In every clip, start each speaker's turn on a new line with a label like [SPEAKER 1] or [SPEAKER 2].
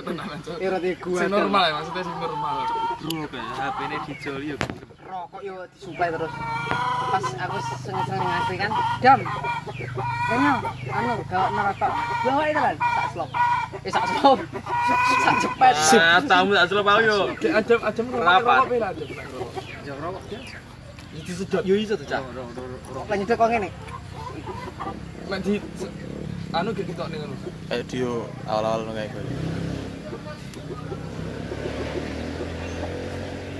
[SPEAKER 1] tenanan cok
[SPEAKER 2] Irate gua.
[SPEAKER 1] sing normal ya maksudnya sing normal
[SPEAKER 3] Bro, kayak HP-ne dijoli yo.
[SPEAKER 2] Rokok yo disupai terus. Pas aku seneng-seneng ngasih kan, dam. Kayaknya anu gawat nerokok. Bawa itu kan, sak slop. Eh sak slop. Sak cepet.
[SPEAKER 3] Ah, tamu tak celop aku yo.
[SPEAKER 1] kayak ajam ajam
[SPEAKER 3] Kenapa?
[SPEAKER 1] rokok pira ajam
[SPEAKER 3] Yo rokok.
[SPEAKER 1] itu sedot
[SPEAKER 3] Yo iso to, Cak.
[SPEAKER 2] Kok lan nyedot kok ngene.
[SPEAKER 1] nek di se- anu kayak gitu nih
[SPEAKER 4] Kayak dia awal-awal nggak ikut.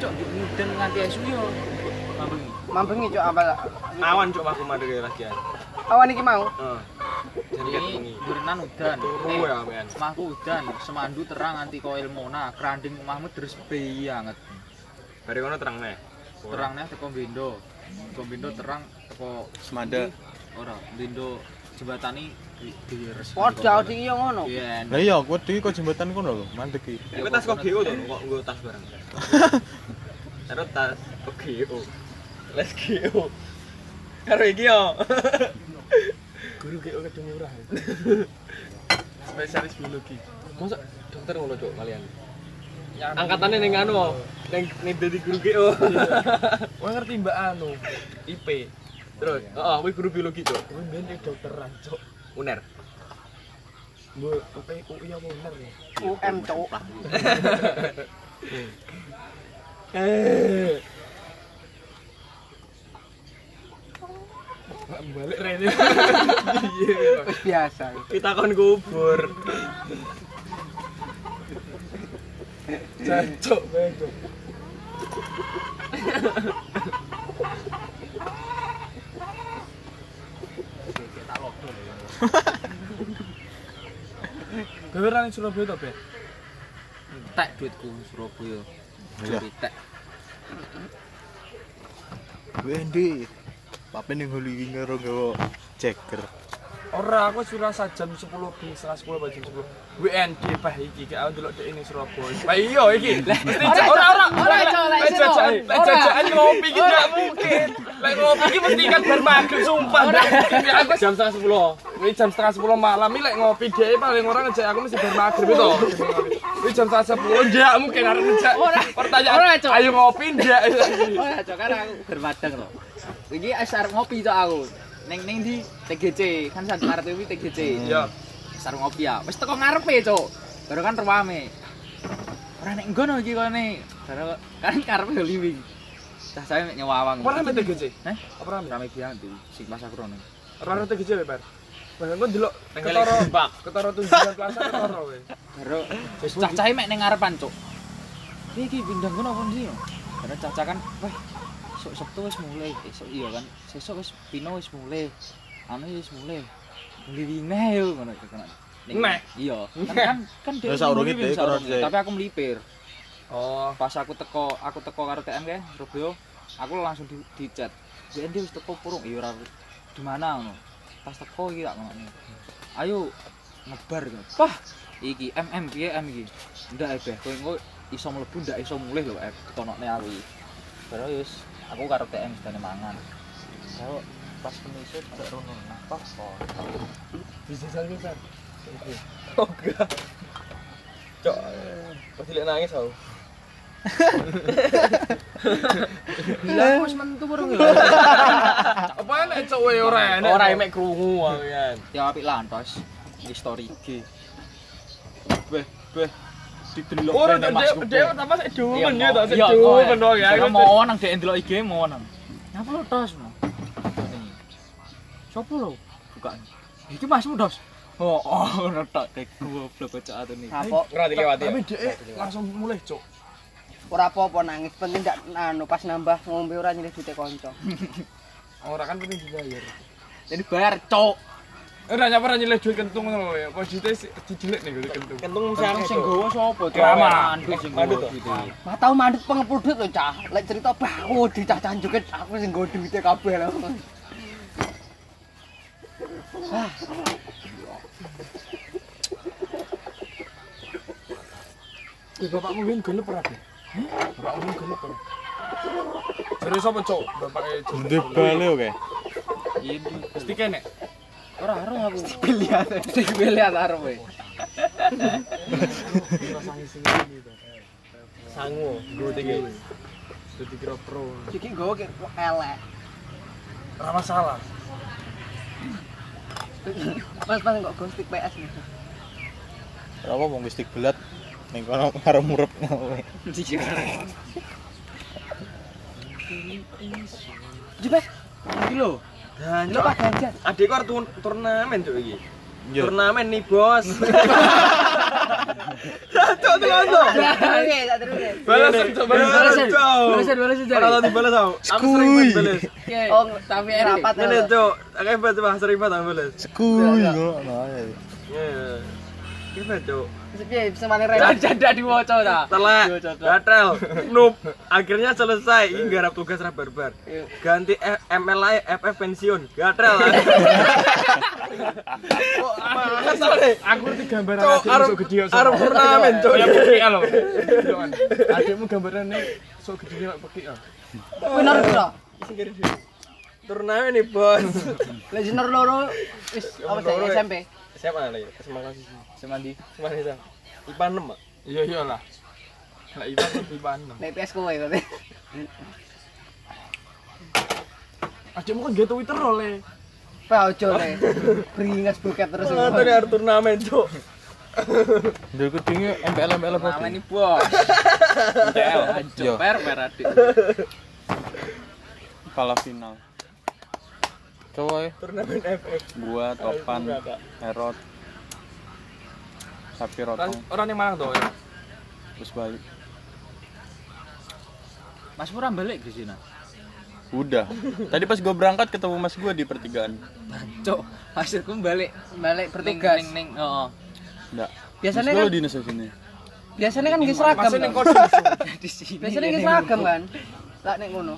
[SPEAKER 3] Cok, mudeng nganti esu yo. Mambeng.
[SPEAKER 2] Mambengi cok apa?
[SPEAKER 3] Awan cok aku mandek lagi.
[SPEAKER 2] Awan iki mau.
[SPEAKER 3] Heeh. Jadi
[SPEAKER 5] Ini berenang udan.
[SPEAKER 3] turu ya, men.
[SPEAKER 5] Mahku udan, semandu terang anti koil mona, keranding omahmu deres banget.
[SPEAKER 3] Bari ngono terang neh.
[SPEAKER 5] Terangnya teko bendo. Teko bendo terang teko
[SPEAKER 4] Semanda.
[SPEAKER 5] ora bendo jembatani di- dires.
[SPEAKER 2] Podal iki yo ngono.
[SPEAKER 5] Iya.
[SPEAKER 4] Lah iya, kowe dhewe kok jembatan kono lho, mandek iki.
[SPEAKER 3] Iku tas kok GO to, kok nggo tas barang. Terus tas kok GO. Les GO. Karo iki yo.
[SPEAKER 1] guru kayak gedung murah ya.
[SPEAKER 3] Spesialis biologi.
[SPEAKER 1] masa dokter ngono cok kalian
[SPEAKER 3] Angkatannya ning anu, ning ning dadi guru GO.
[SPEAKER 1] Wah ngerti mbak anu
[SPEAKER 3] IP. Terus, heeh, kuwi guru biologi, Cok.
[SPEAKER 1] gue mbien kayak dokteran cok
[SPEAKER 3] Uner.
[SPEAKER 1] gue apa UI apa bener ya
[SPEAKER 2] UM cok.
[SPEAKER 1] eh balik Rene iya
[SPEAKER 2] Wis biasa.
[SPEAKER 3] Kita kon kubur.
[SPEAKER 1] Jancuk bego. Kowe ora ning Surabaya to, Be?
[SPEAKER 5] Tek duitku Surabaya.
[SPEAKER 4] Iya.
[SPEAKER 5] Jadi tek.
[SPEAKER 4] Kowe ndi? Pape ning holi iki karo nggawa ceker.
[SPEAKER 1] Ora, aku sudah jam 10 bengi, setengah 10 apa jam 10. WND bah iki gak aku delok dek ning Surabaya. Lah iya iki. Lah mesti
[SPEAKER 2] Ora,
[SPEAKER 1] ja- ora ora
[SPEAKER 2] Cok. Ora, Cok. Lah,
[SPEAKER 1] Lah
[SPEAKER 2] iya,
[SPEAKER 1] jajakan,
[SPEAKER 2] Cok.
[SPEAKER 1] lah
[SPEAKER 2] Ora.
[SPEAKER 1] jajakan ngopi iki gak mungkin. Lah ngopi iki mesti kan bar maghrib sumpah. Ini aku jam setengah 10. Ini jam setengah 10 malam ini lek ngopi dhewe paling ora ngejak aku mesti bar maghrib itu. Ini jam setengah 10 ndak mungkin arep ngejak. Pertanyaan.
[SPEAKER 2] Ora, Cok.
[SPEAKER 1] Ayo ngopi ndak.
[SPEAKER 2] Ora cok Oh, kan aku bermadang loh. Iki es arep ngopi cok aku. Ning ning di TGC kan saat arep iki TGC.
[SPEAKER 1] Ya.
[SPEAKER 2] sarung ngopi ya wis teko ngarepe cuk baru kan rame ora nek nggono iki kene baru kan karepe yo liwing cah saya mek nyewawang
[SPEAKER 1] Apa rame TGC?
[SPEAKER 5] Heh?
[SPEAKER 1] Apa rame?
[SPEAKER 5] Rame biang di sing pas aku rono.
[SPEAKER 1] Ora rame TGC, Bar. Wah, engko delok
[SPEAKER 3] Tenggelek
[SPEAKER 1] ketara
[SPEAKER 3] sempak.
[SPEAKER 1] ketara tunjangan plaza ketara kowe.
[SPEAKER 2] baru cah saya mek ning ngarepan cuk iki iki pindang ngono apa ndi yo
[SPEAKER 5] Karena caca kan, wah, sok Sabtu wis mulai, esok iya kan, sesok wis pino wis mulai, anu wis mulai, ngelilinge yo ngono iki kan. Ning-
[SPEAKER 1] Nek.
[SPEAKER 5] Iya, kan kan kan dia
[SPEAKER 4] Lah, saurunge
[SPEAKER 5] ngeliwing
[SPEAKER 4] dhek karo
[SPEAKER 5] saurunge.
[SPEAKER 4] dhek.
[SPEAKER 5] Tapi aku melipir.
[SPEAKER 1] Oh,
[SPEAKER 5] Pas aku teko, aku teko karo TM kae, Surabaya, aku langsung di, di chat. Jadi wis teko purung, iya ora di mana ngono. Pas teko iki tak ngono. Ayo ngebar gitu. Wah, iki MM piye M iki? Ndak ebeh, kowe engko iso mlebu ndak iso mulih lho eh ketonokne aku iki. Baru wis aku karo TM sedane mangan. Saya pas pemisut gak rono apa kok.
[SPEAKER 1] bisa jalan Bar. Oke.
[SPEAKER 3] Cok. Pasti lek nangis aku.
[SPEAKER 1] Lah wis mentu burung ya. Apa enek cok wae ora enek.
[SPEAKER 3] Ora emek krungu aku kan.
[SPEAKER 5] Ya apik lantos. Iki story IG.
[SPEAKER 3] Beh, beh. Didelok
[SPEAKER 1] Ora
[SPEAKER 3] nang
[SPEAKER 1] dhewe
[SPEAKER 3] Mas
[SPEAKER 1] dhewe pertama sik dumen ya to, sik
[SPEAKER 5] Iya, mau-
[SPEAKER 1] dumen to ya.
[SPEAKER 5] iya,
[SPEAKER 1] Aku
[SPEAKER 5] mau nang dek ndelok IG mau nang. Ngapa lo tos mau? Sopo lo? Bukan. Ya, Iki masmu dos. Oh, oh, ngono tok dek goblok cocok atune.
[SPEAKER 2] apa
[SPEAKER 3] Ora dilewati ya.
[SPEAKER 1] Tapi dhek langsung mulih cok.
[SPEAKER 2] ora apa-apa nangis penting ndak anu pas nambah ngombe ora nyilih duit kanca
[SPEAKER 1] Ora kan penting dibayar.
[SPEAKER 5] Jadi bayar cok.
[SPEAKER 1] Eh, Ora nyapa ora nyilih duit kentung ngono ya. Apa duite dijelek nih duit kentung.
[SPEAKER 3] Kentung
[SPEAKER 5] Sing
[SPEAKER 3] siapa
[SPEAKER 5] sing
[SPEAKER 3] sing
[SPEAKER 5] gowo sapa cok?
[SPEAKER 1] Keramat.
[SPEAKER 5] Mandut sing
[SPEAKER 3] Mandut
[SPEAKER 5] gowo
[SPEAKER 3] to?
[SPEAKER 5] gitu.
[SPEAKER 2] mah tau mandek pengepul duit lho cah lek cerita baku dicacah joget aku sing nggo duite kabeh lho
[SPEAKER 1] Kuwi bapakmu win gelep ora Be? Bapakmu win gelep ora? Jare sapa cok? Bapake Jok.
[SPEAKER 4] Ndek bale oke.
[SPEAKER 5] Iya.
[SPEAKER 1] Mesti kene.
[SPEAKER 5] Ora ora aku.
[SPEAKER 2] pilihan sing pilihan arep
[SPEAKER 3] sangu gue tiga jadi kira pro
[SPEAKER 2] Jadi gue kayak elek.
[SPEAKER 1] Ora masalah.
[SPEAKER 2] Pas-pas kok gue stick PS gitu.
[SPEAKER 4] Kenapa mau ngestik belat? Neng kono karo murep ngono.
[SPEAKER 2] Jepes. Ini lo. Ini lo Pak Ganjar.
[SPEAKER 3] adik kau turun turnamen tuh ini
[SPEAKER 4] Yo.
[SPEAKER 3] turnamen nih bos satu terus tuh
[SPEAKER 2] Oke, tak terus ya.
[SPEAKER 3] Iya,
[SPEAKER 1] Balasan coba.
[SPEAKER 3] balasan tuh
[SPEAKER 2] Balasan, balasan, Jari.
[SPEAKER 3] kalau dibalas tau aku sering
[SPEAKER 4] Skuy.
[SPEAKER 3] banget balas
[SPEAKER 2] Oke. Oh, tapi rapat
[SPEAKER 3] ini tuh hebat tuh sering banget aku balas
[SPEAKER 4] Sekui ngono ae.
[SPEAKER 3] Iya, iya. hebat tuh
[SPEAKER 2] Sepi bisa mana rela.
[SPEAKER 5] Janda diwaca ta.
[SPEAKER 3] telat gatel noob akhirnya selesai ini garap tugas rah barbar ganti F- MLI FF pensiun gatel
[SPEAKER 1] Aku ngerti gambaran
[SPEAKER 3] Cok, Iya.
[SPEAKER 1] adikmu
[SPEAKER 3] arep-
[SPEAKER 1] sok gede sok.
[SPEAKER 3] arep turnamen, cok.
[SPEAKER 1] Ya peki ya, lho. Doan. Adikmu gambarannya sok gede lho peki ya.
[SPEAKER 2] Bener lo.
[SPEAKER 3] turnamen nih bos
[SPEAKER 2] Legender loro wis apa sih
[SPEAKER 3] Loro, ya.
[SPEAKER 2] SMP.
[SPEAKER 3] siapa lagi semangat sih
[SPEAKER 5] Semandi.
[SPEAKER 3] semangat sih ipa enam Pak.
[SPEAKER 1] Iya iya lah. Lah iban iban.
[SPEAKER 2] Nek PS kowe berarti.
[SPEAKER 1] Adikmu kan gak Twitter lho le.
[SPEAKER 2] Pak ojo le. Beringas buket terus.
[SPEAKER 3] Wah, tadi ada turnamen cok
[SPEAKER 4] Ndel kudinge MPL MPL apa?
[SPEAKER 5] Nama ini bos. MTL
[SPEAKER 4] Yo.
[SPEAKER 5] hancur per per adik.
[SPEAKER 4] Kala final. Cowoy,
[SPEAKER 3] turnamen FF
[SPEAKER 4] gua Topan, Erot. Tapi Rotong
[SPEAKER 1] Orang yang mana tuh?
[SPEAKER 4] terus balik.
[SPEAKER 5] Mas Murah balik di sini.
[SPEAKER 4] Udah. Tadi pas gua berangkat ketemu mas gua di pertigaan.
[SPEAKER 5] Cok, maksudku balik
[SPEAKER 2] Balik
[SPEAKER 5] bertugas.
[SPEAKER 2] bertugas.
[SPEAKER 5] Ning ning oh. heeh.
[SPEAKER 4] Enggak.
[SPEAKER 2] Biasanya
[SPEAKER 4] Mas gua
[SPEAKER 2] kan
[SPEAKER 4] lo dinas di sini.
[SPEAKER 2] biasanya kan nggih seragam.
[SPEAKER 1] Masih ning
[SPEAKER 2] toh.
[SPEAKER 1] kode.
[SPEAKER 5] Di sini.
[SPEAKER 2] Biasanya nggih seragam kan. Lah nek ngono.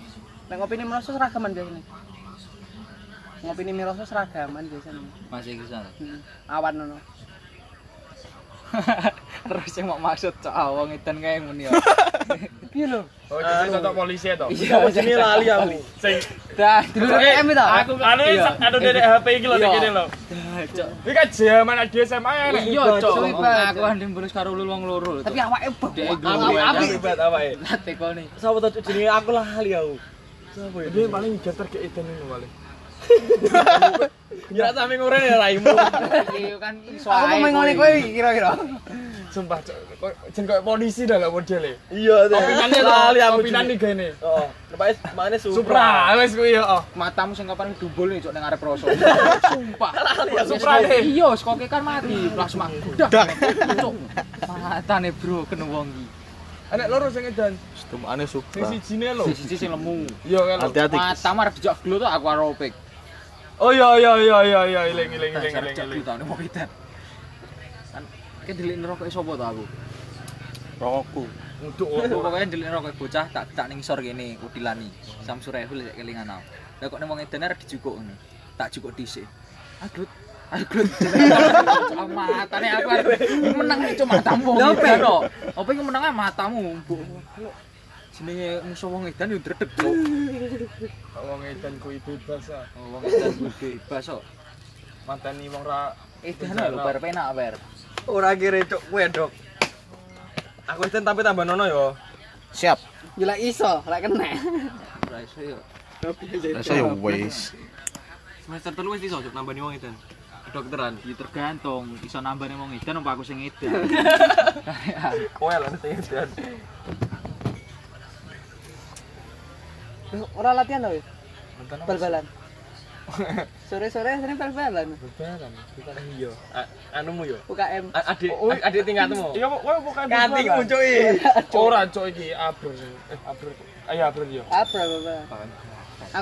[SPEAKER 2] Nek ngopi ini merasa seragaman biasanya. Ngopi ini merasa seragaman biasanya.
[SPEAKER 5] Masih ke sana.
[SPEAKER 2] Hmm. Awan ngono.
[SPEAKER 5] Terus yang mau maksud cok awang edan kae muni ya.
[SPEAKER 2] Piye lho?
[SPEAKER 1] Oh, jadi contoh polisi ya toh.
[SPEAKER 5] Iya,
[SPEAKER 3] ini lali aku
[SPEAKER 1] Sing
[SPEAKER 5] Dah,
[SPEAKER 2] Dulu DM itu.
[SPEAKER 1] aku anu anu dari HP iki lho
[SPEAKER 5] Iya.
[SPEAKER 1] nek kene lho.
[SPEAKER 5] dah, cok.
[SPEAKER 1] Iki kan zaman ada SMA ya. Nek.
[SPEAKER 5] Iya, cok.
[SPEAKER 2] Suwi banget.
[SPEAKER 5] Aku andem bulus karo lu wong loro.
[SPEAKER 2] Tapi awake bebek.
[SPEAKER 5] Dek,
[SPEAKER 2] Awake-
[SPEAKER 5] Aku-
[SPEAKER 3] Aku-
[SPEAKER 2] awake-
[SPEAKER 3] aku hebat apa ya
[SPEAKER 5] ate kone.
[SPEAKER 3] siapa tadi jenenge aku lali aku siapa ya
[SPEAKER 1] Dia paling daftar ke Eden ini paling.
[SPEAKER 3] kira sampe ngurene ya raimu
[SPEAKER 5] Iya kan iso
[SPEAKER 2] Aku mau ngoni kowe iki kira-kira.
[SPEAKER 1] Sumpah, Cok. Kok- jen koyo polisi dah lah modelnya.
[SPEAKER 3] iya tuh
[SPEAKER 1] Opinannya
[SPEAKER 3] lali aku
[SPEAKER 1] Opinan nih gini.
[SPEAKER 3] oh lepas mana supra
[SPEAKER 1] Supra, wes kuwi yo. oh.
[SPEAKER 5] matamu sing kapan dubul nih cok ning arep rasa. Sumpah.
[SPEAKER 3] ya supra
[SPEAKER 5] Supra
[SPEAKER 1] deh.
[SPEAKER 5] Iya, skoke kan mati, plas mak. Dak. Cok. Matane bro kena wong iki.
[SPEAKER 1] Anak loro sing edan.
[SPEAKER 4] Setum aneh
[SPEAKER 1] Sing
[SPEAKER 4] supra.
[SPEAKER 1] sijine lho.
[SPEAKER 5] Sisi sing lemu.
[SPEAKER 1] Yo kalau.
[SPEAKER 4] Hati-hati.
[SPEAKER 5] Matamu arep dijak glo tuh aku arep opik.
[SPEAKER 1] Oh iya iya iya iya iya iling iling iling
[SPEAKER 5] Dasar
[SPEAKER 1] iling.
[SPEAKER 5] cok
[SPEAKER 1] iling.
[SPEAKER 5] glo tau mau kita. Kan kan delik rokok sapa to aku?
[SPEAKER 4] Rokokku.
[SPEAKER 1] Untuk
[SPEAKER 5] Aku pokoknya delik rokok bocah tak tak ning sor kene kudilani. Sam Surehul lek kelingan aku. Lah kok ning wong edan arep dijukuk ngono. Tak jukuk dhisik. Aglut. Aglut. Matane aku arep menang nih cuma matamu. Lha opo to? Opo iki menange matamu. Bu- Jenenge musuh wong edan yo dredeg cuk.
[SPEAKER 1] Wong edan kuwi bebas ah.
[SPEAKER 5] Oh, Wong edan kuwi bebas kok.
[SPEAKER 1] Mateni wong ra
[SPEAKER 5] Edan lho per penak per.
[SPEAKER 3] ora kira cok kue dok aku isen tapi tambah nono yo
[SPEAKER 4] Siap.
[SPEAKER 2] Yo lek iso, lek kena.
[SPEAKER 5] Ora iso yo.
[SPEAKER 4] Rasa ya wes.
[SPEAKER 3] semester telu wis iso cok nambah wong isen dokteran
[SPEAKER 5] Ya tergantung iso nambane wong edan apa aku sing edan.
[SPEAKER 3] kue lah sing edan
[SPEAKER 2] Ora latihan to wis. Bal-balan. Sore-sore sering bal-balan.
[SPEAKER 1] bebaran.
[SPEAKER 3] bukan iya A- anumu yo
[SPEAKER 2] UKM.
[SPEAKER 3] A- adik
[SPEAKER 5] Oh,
[SPEAKER 3] adik tingkatmu
[SPEAKER 1] Iya kok kowe bukan
[SPEAKER 3] kanting
[SPEAKER 1] bebalan.
[SPEAKER 3] muncul i
[SPEAKER 1] Ora cok iki abro. Eh abro. Ayo abro yo.
[SPEAKER 2] Apa bapak? Ah,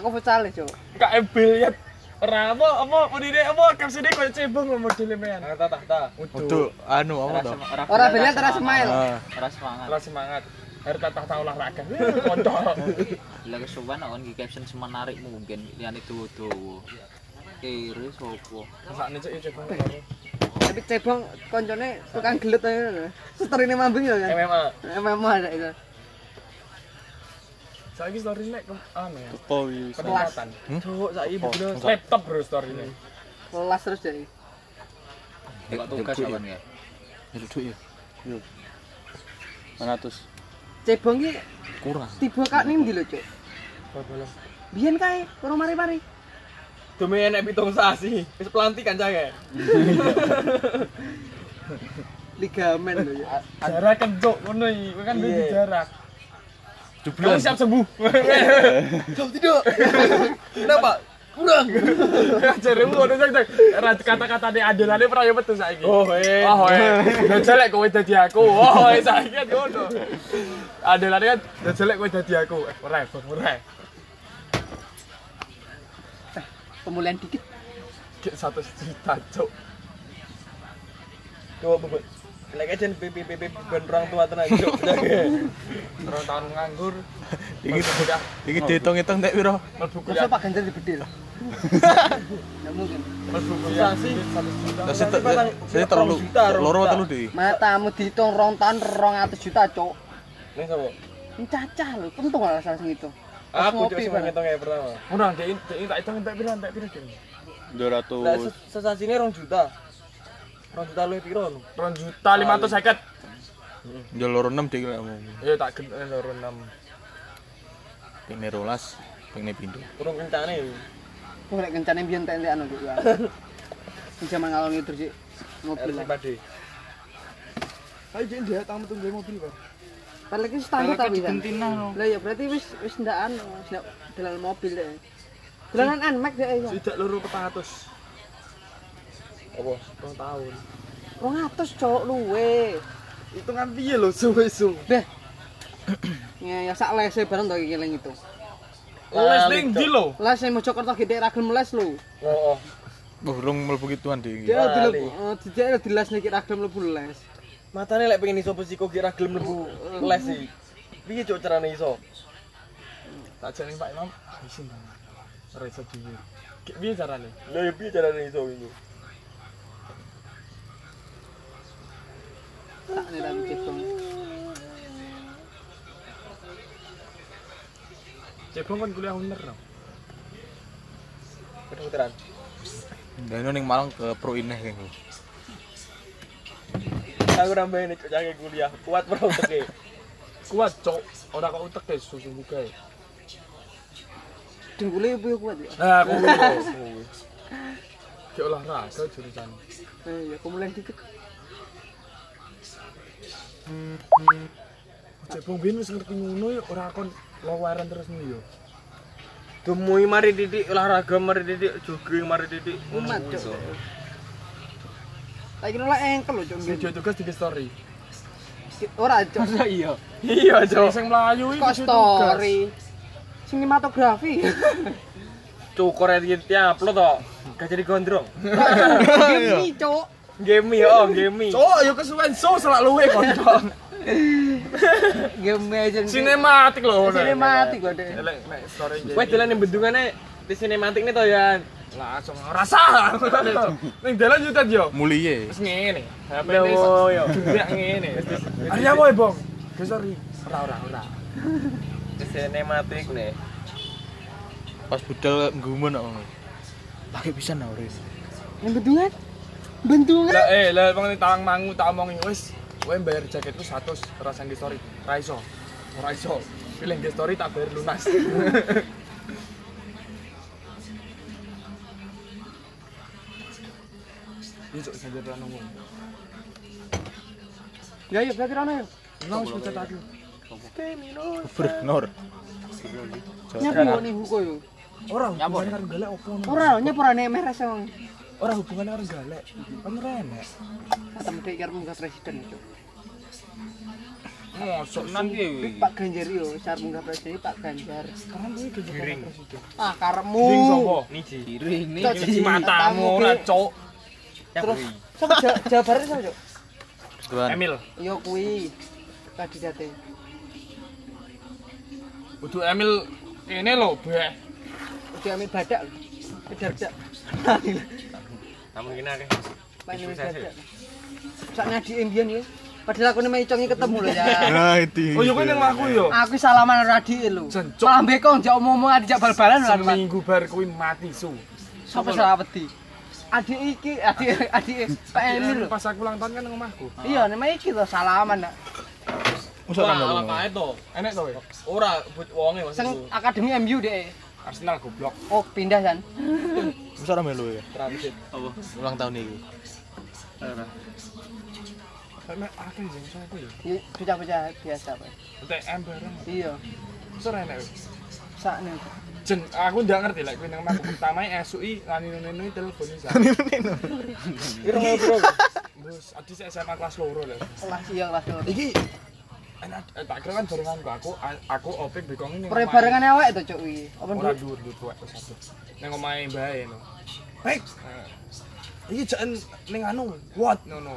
[SPEAKER 2] Aku futsal ya, Cuk.
[SPEAKER 1] KM biliat. Ora apa apa mudine apa kapsine koyo cebong lho modele men.
[SPEAKER 3] tata tata
[SPEAKER 4] Untuk anu apa
[SPEAKER 5] Ora
[SPEAKER 4] toh?
[SPEAKER 5] sem- ora
[SPEAKER 2] Ora
[SPEAKER 5] bener,
[SPEAKER 2] biliar
[SPEAKER 5] ora
[SPEAKER 2] terus smile.
[SPEAKER 4] Ah,
[SPEAKER 5] Ora semangat.
[SPEAKER 1] Ora semangat. Harus tatah tau olahraga. Wih, Kocok.
[SPEAKER 5] Lah kesuwen kon iki caption semenarik mungkin liyane dawa-dawa. Kiri sapa?
[SPEAKER 1] Sakne cok yo cebong.
[SPEAKER 2] Tapi cebong koncone tukang gelut aja. Seterine mambing ya kan.
[SPEAKER 1] MMA.
[SPEAKER 2] Emang ada itu.
[SPEAKER 1] Saiki story nek ke- anu ya.
[SPEAKER 4] apa wis.
[SPEAKER 1] Peningkatan.
[SPEAKER 3] cok saiki bener
[SPEAKER 1] Laptop bro story ini.
[SPEAKER 2] Kelas terus jadi.
[SPEAKER 5] Kok tugas awan Eh, ya?
[SPEAKER 1] Ya duduk ya. Yo. 100
[SPEAKER 2] Cebong iki
[SPEAKER 1] kurang.
[SPEAKER 2] tiba kak ning ndi lho, Cuk? Biyen kae karo mari-mari.
[SPEAKER 3] Demi enek pitung sasi. Wis pelantikan cah ya.
[SPEAKER 2] Ligamen lho, Cuk.
[SPEAKER 3] Jarak kencok ngono iki. Kowe kan duwe jarak.
[SPEAKER 1] Jeblos.
[SPEAKER 3] siap sembuh. Jom tidur. Kenapa? Kurang.
[SPEAKER 1] Jaremu ngono cek cek. Ra kata-kata ne andolane ora yo metu saiki.
[SPEAKER 3] Oh, eh.
[SPEAKER 1] Oh, eh. Yo jelek kowe dadi aku. Oh, eh saiki kan ngono. Andolane kan yo jelek kowe dadi aku. Eh, Ora, eh, Bang, ora. eh.
[SPEAKER 2] Pemulihan dikit.
[SPEAKER 1] Gek 100 juta, cuk.
[SPEAKER 3] Coba bebek. Lek aja pipi pipi ben orang tua tenan ya. cok.
[SPEAKER 1] Terus tahun nganggur,
[SPEAKER 4] Iki
[SPEAKER 1] udah
[SPEAKER 4] iki diitung-itung nek piro?
[SPEAKER 1] mlebu kuliah,
[SPEAKER 2] Masa Pak Ganjar dibedil. Nggak mungkin.
[SPEAKER 1] mlebu kuliah.
[SPEAKER 4] Saya saya terlalu loro telu di.
[SPEAKER 2] Matamu dihitung rong tahun 200 juta, Cuk.
[SPEAKER 3] Ning sapa?
[SPEAKER 2] Ini cacah lho, pentung lah salah sing itu. Pas
[SPEAKER 3] Aku cok
[SPEAKER 2] ngopi,
[SPEAKER 3] sing
[SPEAKER 2] Bang.
[SPEAKER 3] ngitung ya pertama.
[SPEAKER 1] Ora, dek, dek tak hitung tak pira, tak pira, dek.
[SPEAKER 3] Lah
[SPEAKER 4] 200.
[SPEAKER 3] ses- sesasine 2 juta. 2 juta luwih piro lho?
[SPEAKER 1] 2 juta 550.
[SPEAKER 4] Yo loro 6 dik lek omong.
[SPEAKER 1] Ya tak gen eh, loro 6.
[SPEAKER 4] Pengne 12, pengne pindho.
[SPEAKER 3] Turun kencane.
[SPEAKER 2] Wah, lek kencane biyen entek anu, Cuk. ya. Sing Jaman ngalor ngidul sih mobil.
[SPEAKER 3] RC
[SPEAKER 2] lah.
[SPEAKER 3] Pade.
[SPEAKER 2] Padahal iki standar tapi kan.
[SPEAKER 5] Gentina no.
[SPEAKER 2] Lah ya berarti wis wis ndakan ndak dalam mobil deh. Dalanan Nmax deh ya.
[SPEAKER 1] Tidak loro 400.
[SPEAKER 3] Apa?
[SPEAKER 1] 2 tahun.
[SPEAKER 2] 200 cok luwe.
[SPEAKER 1] Hitungan piye lho suwe-suwe?
[SPEAKER 2] Deh. Ya ya sak lese bareng to iki eling itu.
[SPEAKER 1] Les ning ndi lho?
[SPEAKER 2] Les sing Mojokerto gede ra gelem les lho.
[SPEAKER 3] Oh, oh.
[SPEAKER 4] Burung mlebu kituan dik.
[SPEAKER 2] Dia eh,
[SPEAKER 3] Lali.
[SPEAKER 2] dilebur dijak diles nek ra gelem mlebu les.
[SPEAKER 3] Matane lek pengen iso pesiko kira gelem mlebu les iki. Piye cok carane iso?
[SPEAKER 1] Tak jeneng Pak Imam. Isin. Ora iso dhewe. Ki- Piye carane?
[SPEAKER 3] Lah ya piye carane iso ini?
[SPEAKER 2] Tak nek ra cebong.
[SPEAKER 1] Cebong kan kuliah uner. tau.
[SPEAKER 3] Kedokteran.
[SPEAKER 4] Dan ning Malang ke Pro Ineh kene.
[SPEAKER 3] Aku nambahin cok cake kuliah. Kuat bro teke.
[SPEAKER 1] Kuat cok. Ora kok utek deh susu buka. ya.
[SPEAKER 2] Dengkule yo kuat ya.
[SPEAKER 1] Nah, Ah, aku kuwi. Ki Oh. olahraga jurusan.
[SPEAKER 2] Eh ya kemulian dikit.
[SPEAKER 1] Cebong biyen wis ngerti ngono ya ora kon lawaran terus ngono ya.
[SPEAKER 3] Demui mari didik olahraga mari didik jogging mari didik.
[SPEAKER 2] Umat cok. Tak kira lah engkel lho cok.
[SPEAKER 1] Video tugas di story.
[SPEAKER 2] Ora cok.
[SPEAKER 5] Iya.
[SPEAKER 1] Iya, Cok. Sing mlayu iki
[SPEAKER 2] Kok
[SPEAKER 1] video tugas.
[SPEAKER 2] story. Sinematografi.
[SPEAKER 3] Cukur ya tiap upload to. Gak jadi gondrong.
[SPEAKER 2] Gini cok.
[SPEAKER 3] Game ya, oh game.
[SPEAKER 1] Cok, yo kesuwen so selak luwe kondong.
[SPEAKER 2] Game aja.
[SPEAKER 1] Sinematik lho. ngono.
[SPEAKER 2] Sinematik gua deh.
[SPEAKER 1] Elek nek story.
[SPEAKER 3] Wes dalan yang bendungannya di sinematik nih to ya.
[SPEAKER 1] langsung rasa ning dalan yutet yo
[SPEAKER 4] Mulie.
[SPEAKER 1] wis ngene HP ini
[SPEAKER 3] Loh, yo.
[SPEAKER 1] dunia ngene Arya kowe bong sorry ora ora ora
[SPEAKER 3] Di sinematik nih.
[SPEAKER 4] Pas budal nggumun kok ngono. Pakai pisan ora.
[SPEAKER 2] Yang bendungan. Bendungan.
[SPEAKER 1] lah eh lah bang tawang mangu tak omongi wis kowe bayar jaketku 100 rasan di story ra iso ora iso pilih di story tak bayar lunas Ini cok saja pelan ngomong.
[SPEAKER 2] Ya ya berarti rono ya.
[SPEAKER 1] Nang wis pucat aku.
[SPEAKER 4] Gubernur.
[SPEAKER 2] Nyapu kok nih huko yo.
[SPEAKER 1] Ora hubungan karo galak opo ngono.
[SPEAKER 2] Ora nyapu rane meres wong.
[SPEAKER 1] Ora hubungan karo galak. Kan ora enak.
[SPEAKER 2] Kata mesti kira munggah presiden itu.
[SPEAKER 1] Mosok
[SPEAKER 5] Tenan piye kuwi?
[SPEAKER 2] Pak Ganjar yo, sar munggah presiden Pak Ganjar.
[SPEAKER 1] Sekarang gue gaji
[SPEAKER 3] Giring.
[SPEAKER 2] Ah
[SPEAKER 1] Giring
[SPEAKER 2] karepmu.
[SPEAKER 1] sopo?
[SPEAKER 3] Niji.
[SPEAKER 5] Ini
[SPEAKER 2] Cok,
[SPEAKER 1] Cuci matamu
[SPEAKER 2] Matamu,
[SPEAKER 1] ora
[SPEAKER 2] Ki.
[SPEAKER 1] cok.
[SPEAKER 2] Terus sapa Ja- Jawa Barat sapa cok?
[SPEAKER 4] Tuan.
[SPEAKER 1] Emil.
[SPEAKER 2] Yo kuwi kandidate.
[SPEAKER 1] Kudu Emil ini lho, Beh.
[SPEAKER 2] Udah ambil badak. lho. Kedar badak.
[SPEAKER 3] Tak mungkin akeh.
[SPEAKER 2] Pak ini badak. Saknya di Indian yo. Padahal aku nemeni congi ketemu lho ya.
[SPEAKER 4] Nah, itu.
[SPEAKER 1] Oh, yo
[SPEAKER 2] kan
[SPEAKER 1] kowe nang aku yo.
[SPEAKER 2] Aku salaman ora dhike lho.
[SPEAKER 1] Jan, Cok.
[SPEAKER 2] Malah mbeko njak omong-omong ajak bal-balan lho.
[SPEAKER 1] Seminggu bar kuwi mati su.
[SPEAKER 2] Sopo salah wedi? adik iki, adik adik Pak Emir lho.
[SPEAKER 1] Pas aku ulang tahun kan nang omahku.
[SPEAKER 2] Iya, nama iki to salaman. Nak.
[SPEAKER 4] Masa
[SPEAKER 3] Wah,
[SPEAKER 4] kan
[SPEAKER 3] ala
[SPEAKER 4] ngomong?
[SPEAKER 3] kae to.
[SPEAKER 1] Enak to weh.
[SPEAKER 3] Ora but wonge
[SPEAKER 2] Seng
[SPEAKER 3] maksudku.
[SPEAKER 2] akademi MU deh.
[SPEAKER 1] Arsenal goblok.
[SPEAKER 2] Oh, pindah kan.
[SPEAKER 4] Masa ra melu ya?
[SPEAKER 3] Transit. Apa?
[SPEAKER 4] Ulang tahun iki.
[SPEAKER 1] Enak akeh jeng sopo ya.
[SPEAKER 2] Ya bocah-bocah biasa, Pak.
[SPEAKER 1] UTM ah, bareng.
[SPEAKER 2] Iya,
[SPEAKER 1] Sur enak weh.
[SPEAKER 2] sakne.
[SPEAKER 1] Jen, aku ndak ngerti lek kowe nang omahku. Pertama esuk i lani nene telepon isa. Kira bro. Terus adi sik SMA kelas loro lho.
[SPEAKER 2] Kelas iya kelas loro.
[SPEAKER 1] Iki enak eh, tak kira kan barengan ku. aku a- aku opik bekong ini.
[SPEAKER 2] Pre barengan awake to, Cuk iki. Apa
[SPEAKER 1] Ora
[SPEAKER 2] nduk?
[SPEAKER 1] dhuwur dhuwur tuwek wis satu. Nang omahe mbae no. Eh. Hek. Iki jan ning anu, what ngono.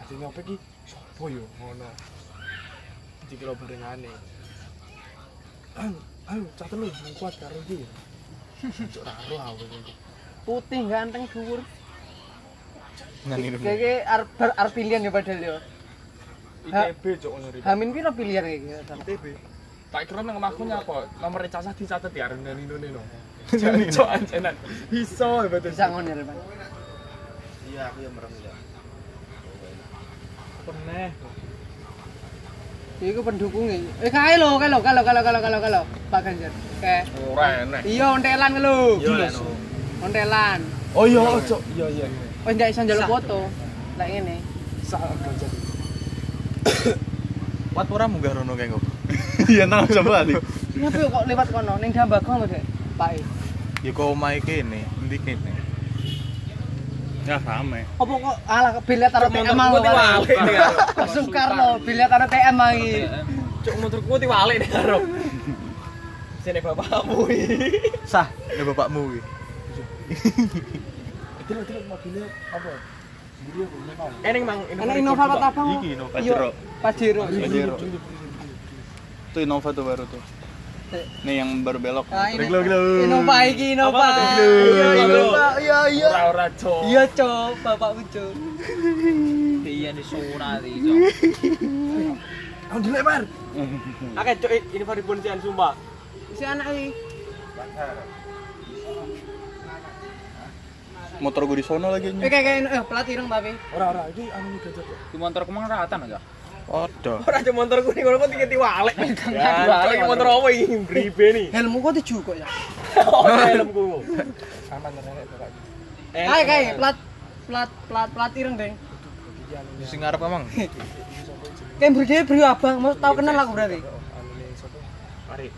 [SPEAKER 1] Ati nyopek iki sapa yo ngono. Dikira barengane. Ayo, ayo cah telu nang kuat karo iki. Cuk ra ero aku iki.
[SPEAKER 2] Putih ganteng dhuwur.
[SPEAKER 4] Nang Nah, ini.
[SPEAKER 2] Kayak arep bar- arep pilihan ya padahal yo. Ha-
[SPEAKER 1] ITB cuk ngono ri.
[SPEAKER 2] Hamin piro pilihan iki?
[SPEAKER 1] Tak kira nang omahku nyapa, nomor ijazah dicatet ya areng nang inone no. Cuk anjenan. Iso betul.
[SPEAKER 2] Bisa ngono ya, Pak.
[SPEAKER 1] Peneh.
[SPEAKER 2] Ya, Iku pendukungnya. Eh kae lho, kae lho, kae lho, kae lho, kae lho, kae lho, kae lho. Pak Ganjar. Kae.
[SPEAKER 1] Ora enak.
[SPEAKER 2] Iya ontelan lho.
[SPEAKER 3] Yo leno.
[SPEAKER 2] Ontelan.
[SPEAKER 1] Oh iya, cuk. Iya iya.
[SPEAKER 2] Wis ndak iso njaluk foto. Lah ngene.
[SPEAKER 1] Sak ganjar.
[SPEAKER 4] Wat ora munggah rono kae kok. Iya nang coba nih.
[SPEAKER 2] Nyapa yo kok lewat kono ning Dambago lho, Dek. Pak. E.
[SPEAKER 4] Ya kok omahe kene, endi kene. Ya rame.
[SPEAKER 2] Apa kok alah biliar taruh TM mau.
[SPEAKER 3] Motorku tiwalik
[SPEAKER 6] ya?
[SPEAKER 3] nih, Karo.
[SPEAKER 2] Langsung Karlo biliar taruh TM lagi.
[SPEAKER 3] Cuk motorku tiwalik nih, Karo. Sini bapakmu iki.
[SPEAKER 4] Sah, ya bapakmu iki.
[SPEAKER 1] Terus terus mobilnya apa? Buri apa? Ini mau.
[SPEAKER 3] Eneng mang
[SPEAKER 2] Ana Innova Kota Abang.
[SPEAKER 4] Iki Innova
[SPEAKER 2] Iya,
[SPEAKER 4] Jero.
[SPEAKER 2] Pajero.
[SPEAKER 4] Pajero.
[SPEAKER 6] Itu Innova tuh baru tuh.
[SPEAKER 2] Eh.
[SPEAKER 6] Nih yang baru belok.
[SPEAKER 2] Nah, ini.
[SPEAKER 4] Reglo, reglo.
[SPEAKER 2] Innova iki Innova.
[SPEAKER 3] Apa, Dek?
[SPEAKER 2] Iya,
[SPEAKER 3] Reglo, reglo.
[SPEAKER 2] Innova. Iya, iya.
[SPEAKER 1] Ora ora cok.
[SPEAKER 2] Iya, Cok, Bapak Ucu.
[SPEAKER 5] Iya di sunat
[SPEAKER 1] Aku dilek mar.
[SPEAKER 3] Akeh cuk ini baru bonsian sumpah.
[SPEAKER 2] Si anak iki.
[SPEAKER 6] Motor gue di sono lagi.
[SPEAKER 2] Eh, kayak kayak eh pelat ireng tapi.
[SPEAKER 1] Ora ora iki anu ganjar. Cok.
[SPEAKER 5] Di motor kemang ratan aja.
[SPEAKER 4] Waduh.
[SPEAKER 3] Ora cuk motorku ning ngono kok tiket tiwalik. Ya, cuk, iki motor apa iki bribe nih.
[SPEAKER 2] Helmmu kok tujuh kok ya?
[SPEAKER 3] Ono helmku.
[SPEAKER 1] Aman nenek to Pak.
[SPEAKER 3] Eh,
[SPEAKER 2] Kayak kayak plat plat plat plat ireng, Deng.
[SPEAKER 4] Sing ngarep emang.
[SPEAKER 2] Kayak bro dia bro abang, mau tau kenal aku berarti.
[SPEAKER 1] Anu ne sapa?
[SPEAKER 3] Mari.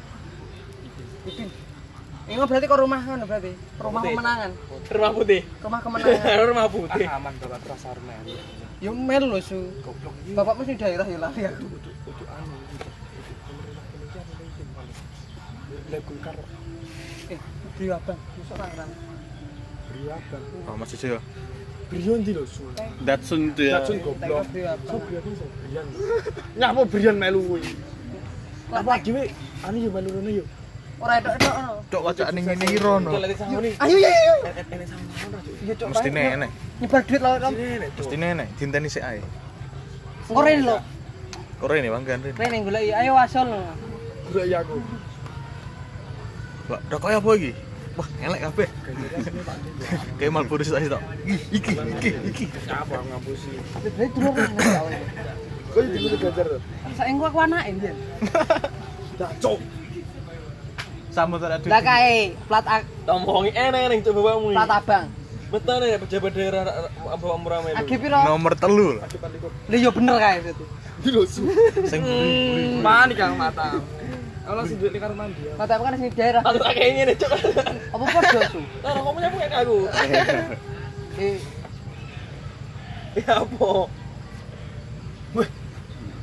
[SPEAKER 2] Ini mah berarti kok rumah kan berarti. Rumah
[SPEAKER 3] Putih.
[SPEAKER 2] kemenangan,
[SPEAKER 3] Rumah putih.
[SPEAKER 2] rumah kemenangan.
[SPEAKER 3] Rumah putih.
[SPEAKER 1] Ah, aman to Pak Prasarna.
[SPEAKER 2] Yo melu lho su.
[SPEAKER 1] Goblok iki
[SPEAKER 2] Bapakmu sing daerah ya lali aku.
[SPEAKER 1] kudu anu. iki, Cok. Kudu pemerintah iki anu ne izin paling. Lek kulkar
[SPEAKER 2] Eh, bro abang, susah pangeran.
[SPEAKER 1] beri apa?
[SPEAKER 4] Oh, masih sih ya.
[SPEAKER 1] Brion di lo sun.
[SPEAKER 6] Datsun tuh ya.
[SPEAKER 1] Datsun goblok.
[SPEAKER 2] Bro abang.
[SPEAKER 1] So brion iso brion. Nyapa brion melu kuwi. Apa dhewe anu yo melu ngene yo.
[SPEAKER 2] Ora edok-edok ono.
[SPEAKER 4] Cok wacane ngene iki rono.
[SPEAKER 3] Cuk lek sahuni.
[SPEAKER 2] Ayo yo yo.
[SPEAKER 3] Eneng sahuni.
[SPEAKER 2] Yo cok.
[SPEAKER 4] Mesti
[SPEAKER 2] Pak.
[SPEAKER 4] nenek,
[SPEAKER 2] Nyebar duit lho Om.
[SPEAKER 4] mesti nenek dinteni sik ae.
[SPEAKER 2] Ora ini lho.
[SPEAKER 4] Ora ini Bang Gandrin.
[SPEAKER 2] Rene golek iya. ayo wasol. lho.
[SPEAKER 1] Ora ya aku.
[SPEAKER 4] Lah, rokok apa iki? Wah, elek kabeh. Kayak Marlboro sik tok. Ih, Iki, iki, iki.
[SPEAKER 1] Apa aku ngapusi.
[SPEAKER 2] Berarti dulu kan nang awake.
[SPEAKER 1] Kok iki kudu ganjar to?
[SPEAKER 2] Saiki aku anake mbiyen.
[SPEAKER 1] Dah cok.
[SPEAKER 4] Sambut ora duit.
[SPEAKER 2] Lah kae plat a-
[SPEAKER 3] Tomongi eneng cuk bapakmu. iki.
[SPEAKER 2] plat abang.
[SPEAKER 3] Betul nih pejabat daerah Bapak Murame
[SPEAKER 2] Agi
[SPEAKER 3] itu.
[SPEAKER 2] piro?
[SPEAKER 4] Nomor telu lah.
[SPEAKER 2] Lah yo bener kae itu.
[SPEAKER 4] Sing
[SPEAKER 3] Hmm.
[SPEAKER 4] buri-buri.
[SPEAKER 1] Mani kang mata. Kalau sing duit ning karo mandi.
[SPEAKER 2] Plat abang kan sing daerah.
[SPEAKER 3] Aku tak kayak gini cuk.
[SPEAKER 2] Apa podo su?
[SPEAKER 3] Nah, kamu nyamuk kayak aku.
[SPEAKER 2] Eh,
[SPEAKER 3] Ya apa?